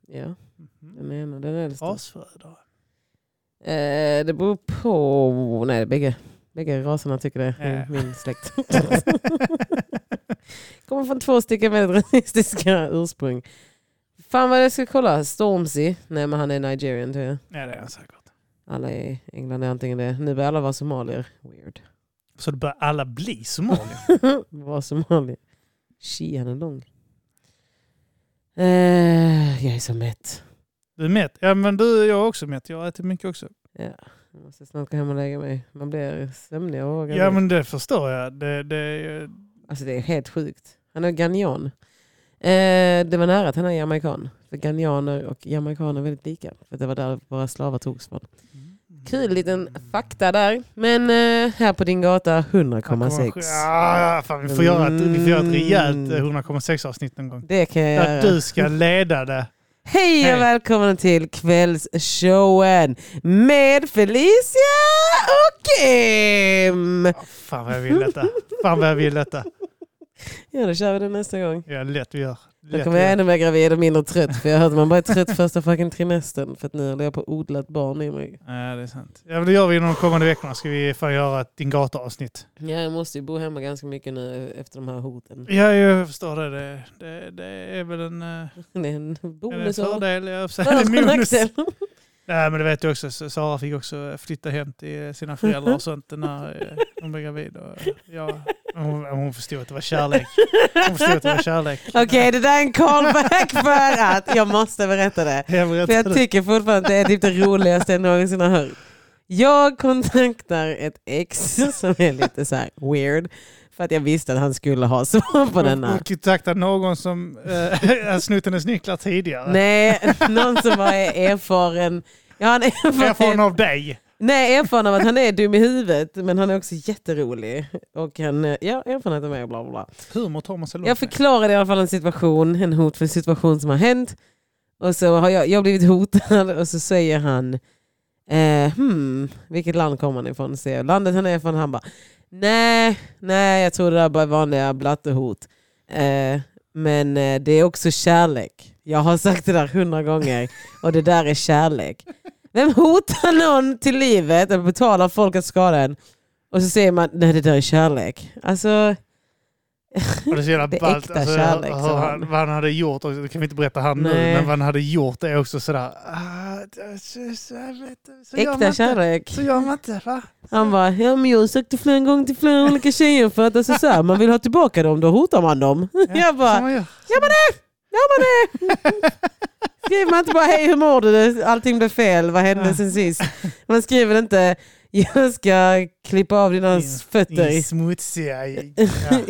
Ja, den ena, den äldsta.
Rasförrädare.
Eh, det beror på... Nej, det är bägge. Bägge raserna tycker det.
Ja.
Min släkt. Kommer från två stycken väldigt rasistiska ursprung. Fan vad jag ska kolla. Stormzy. Nej men han är nigerian tror jag.
Ja, det är han säkert.
Alla i England är antingen det. Nu börjar alla vara somalier. Weird.
Så då börjar alla bli somalier.
Var somalier. Shi, han är lång. Eh, jag är så mätt.
Du är mätt? Ja, men du jag är också mätt. Jag har ätit mycket också.
Ja. Jag måste snart gå hem och lägga mig. Man blir sömnig av att vara
Ja, men det förstår jag. Det, det,
Alltså det är helt sjukt. Han är ghanaian. Eh, det var nära att han är jamaican. För ghanaianer och jamaicaner är väldigt lika. För det var där våra slavar togs från.
Mm.
Kul liten fakta där. Men eh, här på din gata 100,6.
Ja, fan, vi får göra ett, vi får göra ett rejält eh,
Mm.
100,6 avsnitt någon gång.
Det kan jag
Där
göra.
du ska leda det.
Hej
Hej.
och välkomna till kvällsshowen med Felicia och Kim.
Fan vad jag vill detta. Fan vad jag vill detta.
Ja, då kör vi det nästa gång.
Ja, lätt vi gör.
Då
Lätt
kommer
vi
jag
gör.
ännu mer gravid och mindre trött. För jag hörde att man bara är trött första fucking trimestern. För att nu håller jag på att odla ett barn i mig.
Ja, det är sant. Ja, men det gör vi inom de kommande veckorna. Ska vi fan göra ett din gata-avsnitt.
Ja, jag måste ju bo hemma ganska mycket nu efter de här hoten.
Ja, jag förstår det. Det, det, det är väl en, eh, är
Det är en
det en
bonus. av-
fördel. Jag höll på att säga.
Fördel
En
från
bonus.
Axel.
Nej, men det vet jag också. Så Sara fick också eh, flytta hem till sina föräldrar och sånt när eh, hon blev gravid. Och, eh, ja, hon, hon förstod att det var kärlek. Hon förstod att det var kärlek.
Okej, det där är en callback för att jag måste berätta det.
Jag
För
berättade
jag tycker fortfarande att det är typ det roligaste jag någonsin har hört. Jag kontaktar ett ex som är lite så här weird. För att jag visste att han skulle ha svar på
Hon-
denna.
Hon kontaktade någon som eh, har snott hennes nycklar tidigare.
Nej, någon som bara är erfaren. Jag har en erfarenhet.
Erfaren av dig.
Nej, erfaren av att han är dum i huvudet men han är också jätterolig. Och han, eh, ja, erfarenhet av mig och bla bla bla.
Humor tar man sig
Jag
långt med.
förklarade i alla fall en situation, en hotfull situation som har hänt. Och så har jag, jag har blivit hotad och så säger han, eh, hmm, vilket land kommer han ifrån? Säger jag. Landet han är ifrån, han bara, nej, nej, jag tror det där bara är vanliga blattehot. Eh, men eh, det är också kärlek. Jag har sagt det där hundra gånger och det där är kärlek. Vem hotar någon till livet och betalar folk att skada en? Och så säger man, nej det där är kärlek. Alltså,
Och det är så jävla
Det är
ballt.
äkta kärlek,
alltså, hur
sa
han,
han.
vad han hade gjort, också, det kan vi inte berätta här nu,
Nej.
men vad han hade gjort är också sådär... ah, det- så- så- jag vet inte, så gör man
äkta
inte.
kärlek.
Så gör man inte, va?
Han bara, ja men jag sökte flera gånger till flera olika tjejer för att alltså, så här, man vill ha tillbaka dem, då hotar man dem. Jag
Som
bara,
man gör.
gör man det? Gör man det? Skriver man inte bara, hej hur mår du? Allting blev fel, vad hände sen sist? Man skriver inte, Jag ska klippa av dina
Din-
fötter.
Din smutsiga... Ja,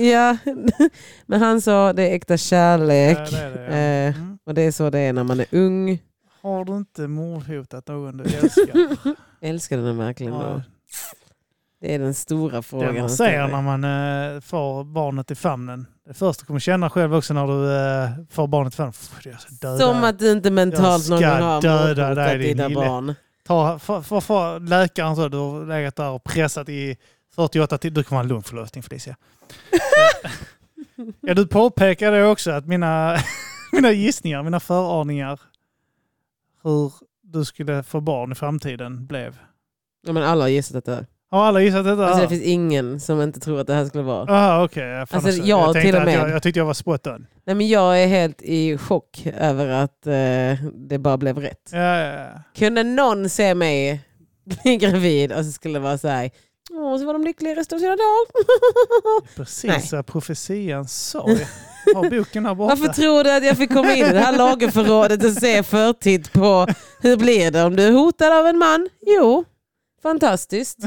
Ja, men han sa det är äkta kärlek.
ja, det är det, ja.
Eh,
Mm.
Och det är så det är när man är ung.
Har du inte mordhotat någon du älskar?
Älskar den verkligen då?
Ja,
Det är den stora frågan.
det man
han
säger
ställer.
när man eh, får barnet i famnen. Det första du kommer känna själv också när du eh, får barnet i famnen. "Pff, Jag ska döda
Som att du inte mentalt
Jag
någon
ska
gång har
döda
mordhotat
dig, din
dina
lille.
barn.
Ta, för, för, för läkaren så, du har legat där och pressat i 48 timmar. Du kommer ha en lugn förlossning Felicia. Eh, ja, du påpekade också att mina, mina gissningar, mina föraningar hur du skulle få barn i framtiden blev.
Ja, men alla har gissat att det är.
Har alla gissat detta?
Alltså, det finns ingen som inte tror att det här skulle vara.
Aha, okay. Ah, jag, fan
Alltså,
också.
jag
jag, tänkte
till och
att
med.
Jag, jag tyckte jag var spot on.
Nej, men jag är helt i chock över att eh, det bara blev rätt.
Ja, ja, ja.
Kunde någon se mig bli gravid och så skulle det vara så här, åh så var de lyckliga resten av sina dagar. Nej.
Precis vad profetian sa. Jag har boken här borta.
Varför tror du att jag fick komma in i det här lagerförrådet och se förtid på hur blir det om du är hotad av en man? Jo, fantastiskt,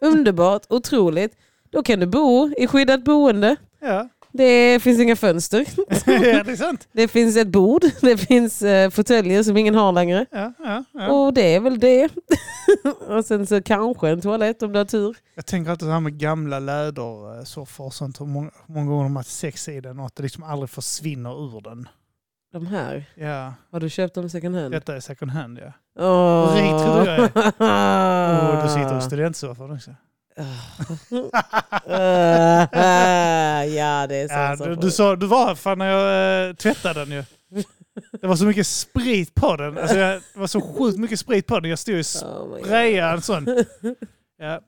underbart, otroligt. Då kan du bo i skyddat boende.
Ja.
Det finns inga fönster.
ja, det är sant.
Det finns ett bord. Det finns eh, fåtöljer som ingen har längre.
Ja, ja, ja.
Och det är väl det. och sen så kanske en toalett om du har tur.
Jag tänker alltid så här med gamla lädersoffor och sånt. Hur många, hur många gånger de har haft sex i den och att det liksom aldrig försvinner ur den.
De här.
Ja,
Har du köpt dem second hand?
detta är second hand ja.
Åh.
Vad rik tror jag är.
är.
Och du sitter i studentsoffan också.
Ah. Mm. Eh. ja, det är
Ja,
sånt som
du,
får-
du, sa, du var här fan när jag eh, tvättade den ju. Det var så mycket sprit på den. Alltså, jag, det var så sjukt mycket sprit på den. Jag stod och
Oh my God.
sprayade en sån. Ja, eh,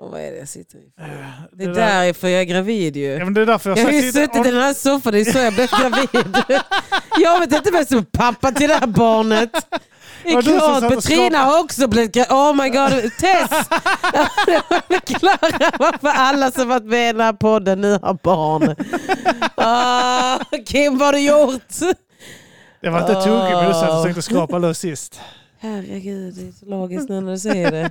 Åh, vad är det jag sitter i? Det
det
är
där-
därför jag är gravid ju.
Ja, men det är därför jag,
Jag har ju
satt i-
suttit i den här soffan, det är så jag blev gravid. Jag vet inte vem som är pappa till det här barnet. Det är
Var det du som
klart,
satt och
Petrina har också blivit gravid. Oh my god, Tess! Förklara varför alla som varit med i den här podden nu har barn. Ah, Kim, vad har du gjort?
Det var inte
Åh.
tokigt men du satt och försökte skrapa lös sist.
Herregud, det är så logiskt nu när du säger det.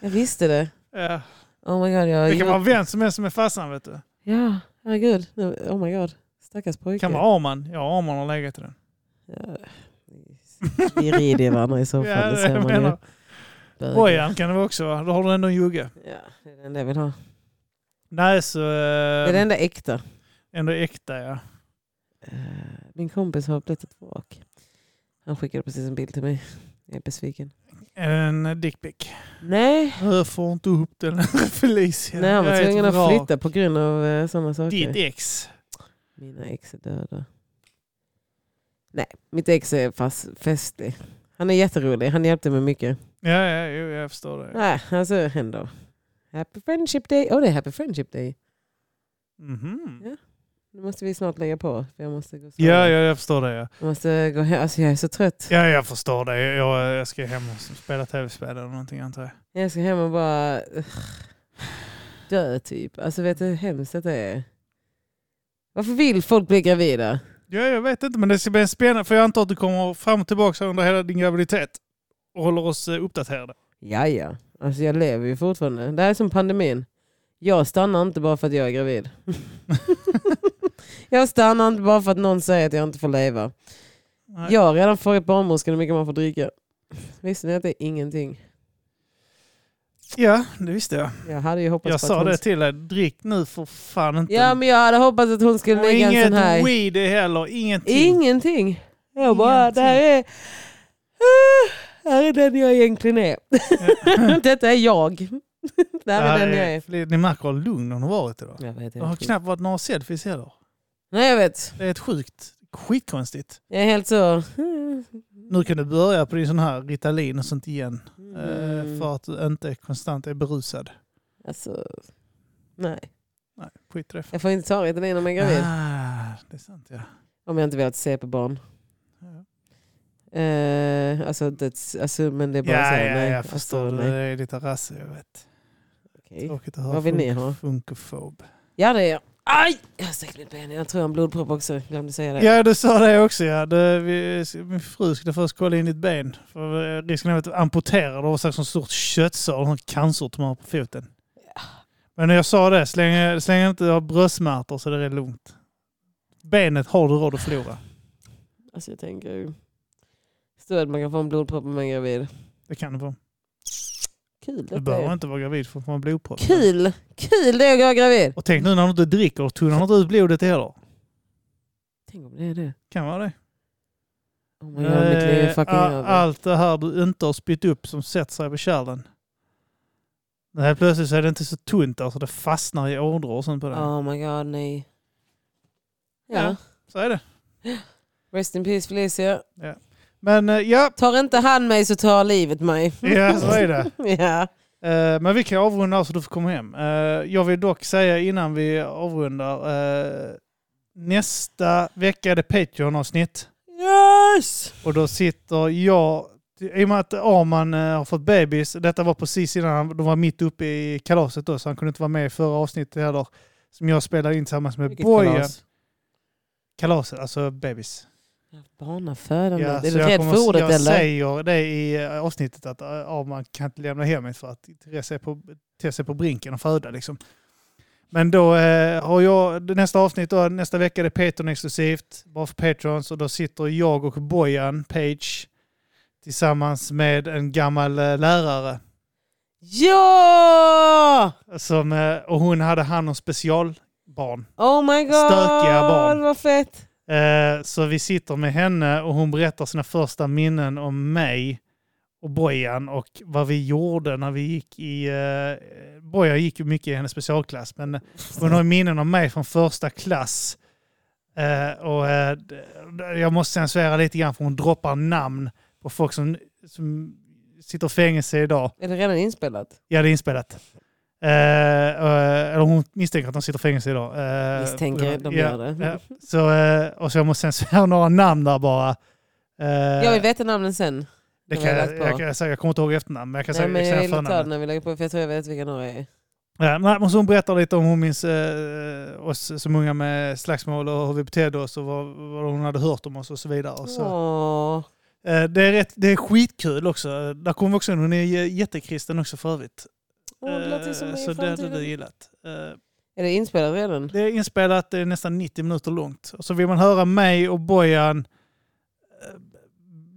Jag visste det.
Ja.
Oh my god, jag har
Det kan vara
gjort...
vem som helst som är farsan vet du.
Ja, herregud. Oh my god, stackars
Det
pojke.
kan vara Arman. Ja, Arman har legat i den.
Vi rider i varandra i soffan,
Ja,
det
det
ser
jag
man ju.
menar. Bojan kan det vara också va? Då har du ändå en jugge.
Ja, det är det enda jag vill ha.
Nej, så...
Det är det
Eh,
enda äkta.
ändå äkta ja.
Eh, Min kompis har blivit ett vrak. Han skickade precis en bild till mig. Jag är besviken.
En dickpic.
Nej,
Jag får inte ihop den Felicia.
nej han
Jag
var
är ett
tvungen att
vrak.
flytta på grund av eh, sådana saker.
Ditt ex.
Mina ex är döda. Nej, mitt ex är fast festlig. Han är jätterolig. Han hjälpte mig mycket.
Ja, ja, jo, jag förstår det.
Nej, alltså ändå. Happy Friendship Day. Åh, det är Happy Friendship Day.
Mhm.
Nu måste vi snart lägga på. För jag måste gå och sova.
Ja, ja, jag förstår det. Ja,
Jag måste gå hem. Alltså jag är så trött.
ja jag förstår det. Jag, jag, jag ska hem och spela tv-spel eller någonting antar jag.
Jag ska hem och bara ugh, dö typ. Alltså vet du hur hemskt det är? Varför vill folk bli gravida?
Ja, jag vet inte, men det ska bli spännande för jag antar att du kommer fram och tillbaka under hela din graviditet och håller oss eh, uppdaterade.
Ja, ja. Alltså jag lever ju fortfarande. Det här är som pandemin. Jag stannar inte bara för att jag är gravid. jag stannar inte bara för att någon säger att jag inte får leva.
Nej.
Jag har redan frågat barnmorskan hur mycket man får dricka. Visste ni att det är ingenting?
Ja, det visste jag.
Jag hade ju hoppats
Jag
på
sa
att hon...
det till dig, drick nu för fan inte.
Ja, men jag hade hoppats att hon skulle
och
lägga en sån här...
inget weed heller, ingenting.
Ingenting. Jag bara, det här är... Det här är den jag egentligen är. Detta är jag. Det
Det
här
här
är den jag
är-
är.
Fli- Ni märker hur lugn hon har varit idag.
Jag vet,
Det har
jag
knappt varit några selfies heller.
Nej jag vet.
Det är ett sjukt, skitkonstigt.
Jag är helt så...
Nu kan du börja på din sån här Ritalin och sånt igen. eh,
Mm.
För att du inte konstant är berusad.
Alltså, nej.
Nej, skit i det.
Jag får inte ta Ritalin om jag är gravid.
Ah, det är sant ja.
Om jag inte vill att se på barn.
Ja.
Eh, alltså, det, alltså, men det är bara
Ja,
så.
ja,
nej.
jag förstår.
Alltså,
det.
nej.
det är lite rasse, jag vet.
Okej.
Tråkigt att höra
Vad vill ni ha?
funkofob.
Ja det är jag. Aj! Jag har säkert mitt ben. Jag tror jag har en blodpropp också. Jag glömde säga det.
Ja, du sa det också. Ja. Det, vi, min fru skulle först kolla in ditt ben. För eh, risken är att amputera det och så ett stort köttsår och en cancertumör på foten. Men när jag sa det, så länge, så länge jag inte har bröstsmärtor så det är lugnt. Benet har du råd att förlora.
Alltså jag tänker ju. Står att man kan få en blodpropp om man är gravid.
Det kan du få.
Kul
Du
detta
behöver
är.
inte vara gravid för att få en blodpropp.
Kul! Kul det är att vara gravid.
Och tänk nu när du inte dricker, tunnar inte ut blodet heller.
Tänk om det är det.
Kan vara det.
Oh my god, mitt liv är
Eh,
fucking
a-
över.
allt det här du inte har spytt upp som sätter sig på kärlen. Men Helt plötsligt så är det inte så tunt där så det fastnar i ådror och sånt på det.
Oh my god, nej. Ja.
Ja. Så är det.
Rest in peace Felicia.
Men eh, ja,
Tar inte han mig så tar livet mig.
ja så är det.
ja.
Eh, Men vi kan avrunda här så du får komma hem. Eh, Jag vill dock säga innan vi avrundar. eh, Nästa vecka är det Patreon-avsnitt.
Yes!
Och då sitter jag, i och med att Arman eh, har fått bebis, detta var precis innan han- de var mitt uppe i kalaset då, så han kunde inte vara med i förra avsnittet heller, som jag spelade in tillsammans med
Vilket
Bojan.
kalas.
Kalaset, alltså bebis.
Barnafödande. är
så
du
jag
rädd
kommer-
för ordet
Jag
eller?
säger det i eh, avsnittet att eh, Arman kan inte lämna hem mig för att Therese är på, Therese är på brinken och föda liksom. Men då eh, har jag, nästa avsnitt då, nästa vecka är det Patreon exklusivt, bara för Patrons, och då sitter jag och Bojan, Page, tillsammans med en gammal eh, lärare.
Ja!
Som, eh, och hon hade hand om specialbarn.
Oh my god!
Stökiga barn.
Vad fett!
Eh, så vi sitter med henne och hon berättar sina första minnen om mig och Bojan och vad vi gjorde när vi gick i... Eh, Bojan gick ju mycket i hennes specialklass, men hon har ju minnen om mig från första klass. Eh, och eh, d- d- Jag måste censurera lite grann för hon droppar namn på folk som, som sitter i fängelse idag.
Är det redan inspelat?
Ja, det är inspelat. Eh, eh, eller hon misstänker att de sitter i fängelse idag. Eh,
Misstänker, de
ja,
gör det.
ja. Så, eh, och så jag måste censurera några namn där bara. Eh,
Jag vill veta namnen sen.
det
vad
kan,
jag
jag,
lagt på.
jag, kan säga, jag kommer inte ihåg efternamn, men jag kan
Nej,
säga
men jag
exakt
vill ta den
förnamn.
när vi lägger på för jag tror jag vet vilka några är.
Ja, nej, men så hon berättar lite om hur hon minns eh, oss som unga med slagsmål och hur vi betedde oss och vad, vad hon hade hört om oss och så vidare. Och så.
Åh.
Eh, det, är rätt, det är skitkul också. Där kommer vi också in, hon är j- jättekristen också för övrigt.
Åh, det låter ju som
Eh,
i
så det hade du
framtiden.
gillat. Eh,
Är det inspelat redan?
Det är inspelat, det är nästan 90 minuter långt. Och så vill man höra mig och Bojan eh,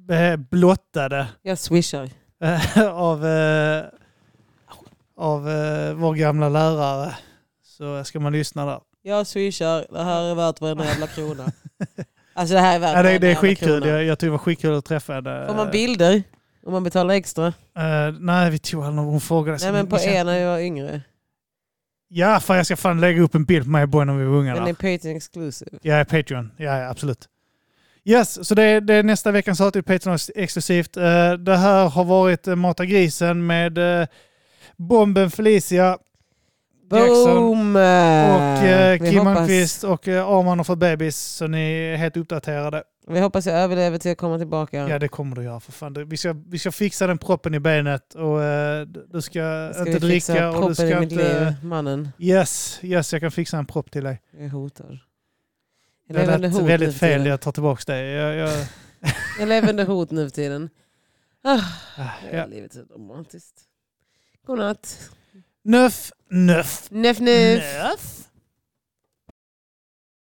b- blottade
Jag swishar.
eh, av, eh, av eh, vår gamla lärare. Så ska man lyssna där.
Jag swishar. Det här är värt varenda jävla krona. Alltså det här är värt
Ja, det,
varenda
det är
jävla
skitkul,
krona.
jag, Eh. jag tyckte det var skitkul att träffa henne.
Får man bilder? Om man betalar extra?
Eh, nej, vi tog aldrig någon, hon frågade. så
Nej men
vi-
på
vi kände-
er när jag var yngre.
Ja, fan jag ska fan lägga upp en bild på mig och Bojan när vi var unga.
Den
där.
är Patreon exclusive.
Ja, Patreon. Ja, ja absolut. Yes, så det är, det är nästa veckans avsnitt Patreon exklusivt. Eh, Det här har varit eh, Mata grisen med eh, Bomben Felicia Jackson.
Boom!
och eh,
vi,
Kim
hoppas,
Malmqvist och eh, Arman har fått bebis så ni är helt uppdaterade.
vi hoppas jag överlever till jag kommer tillbaka.
Ja, det kommer du göra för fan. Du- Vi ska, vi ska fixa den proppen i benet och eh, d- du ska,
Ska
inte
vi fixa
dricka och du
proppen i
ska
mitt
inte...
liv, mannen.
Yes, yes, jag kan fixa en propp till dig.
Jag är hotad. Jag
Det
lever under
lät
hot nu
väldigt
för
fel,
tiden.
jag tar tillbaka det. Jag, jag,
Jag lever under hot nu för tiden.
ah,
Det
ja.
är Livet är dramatiskt. Godnatt.
Nöff, nöff.
Neff neff.
Nöff.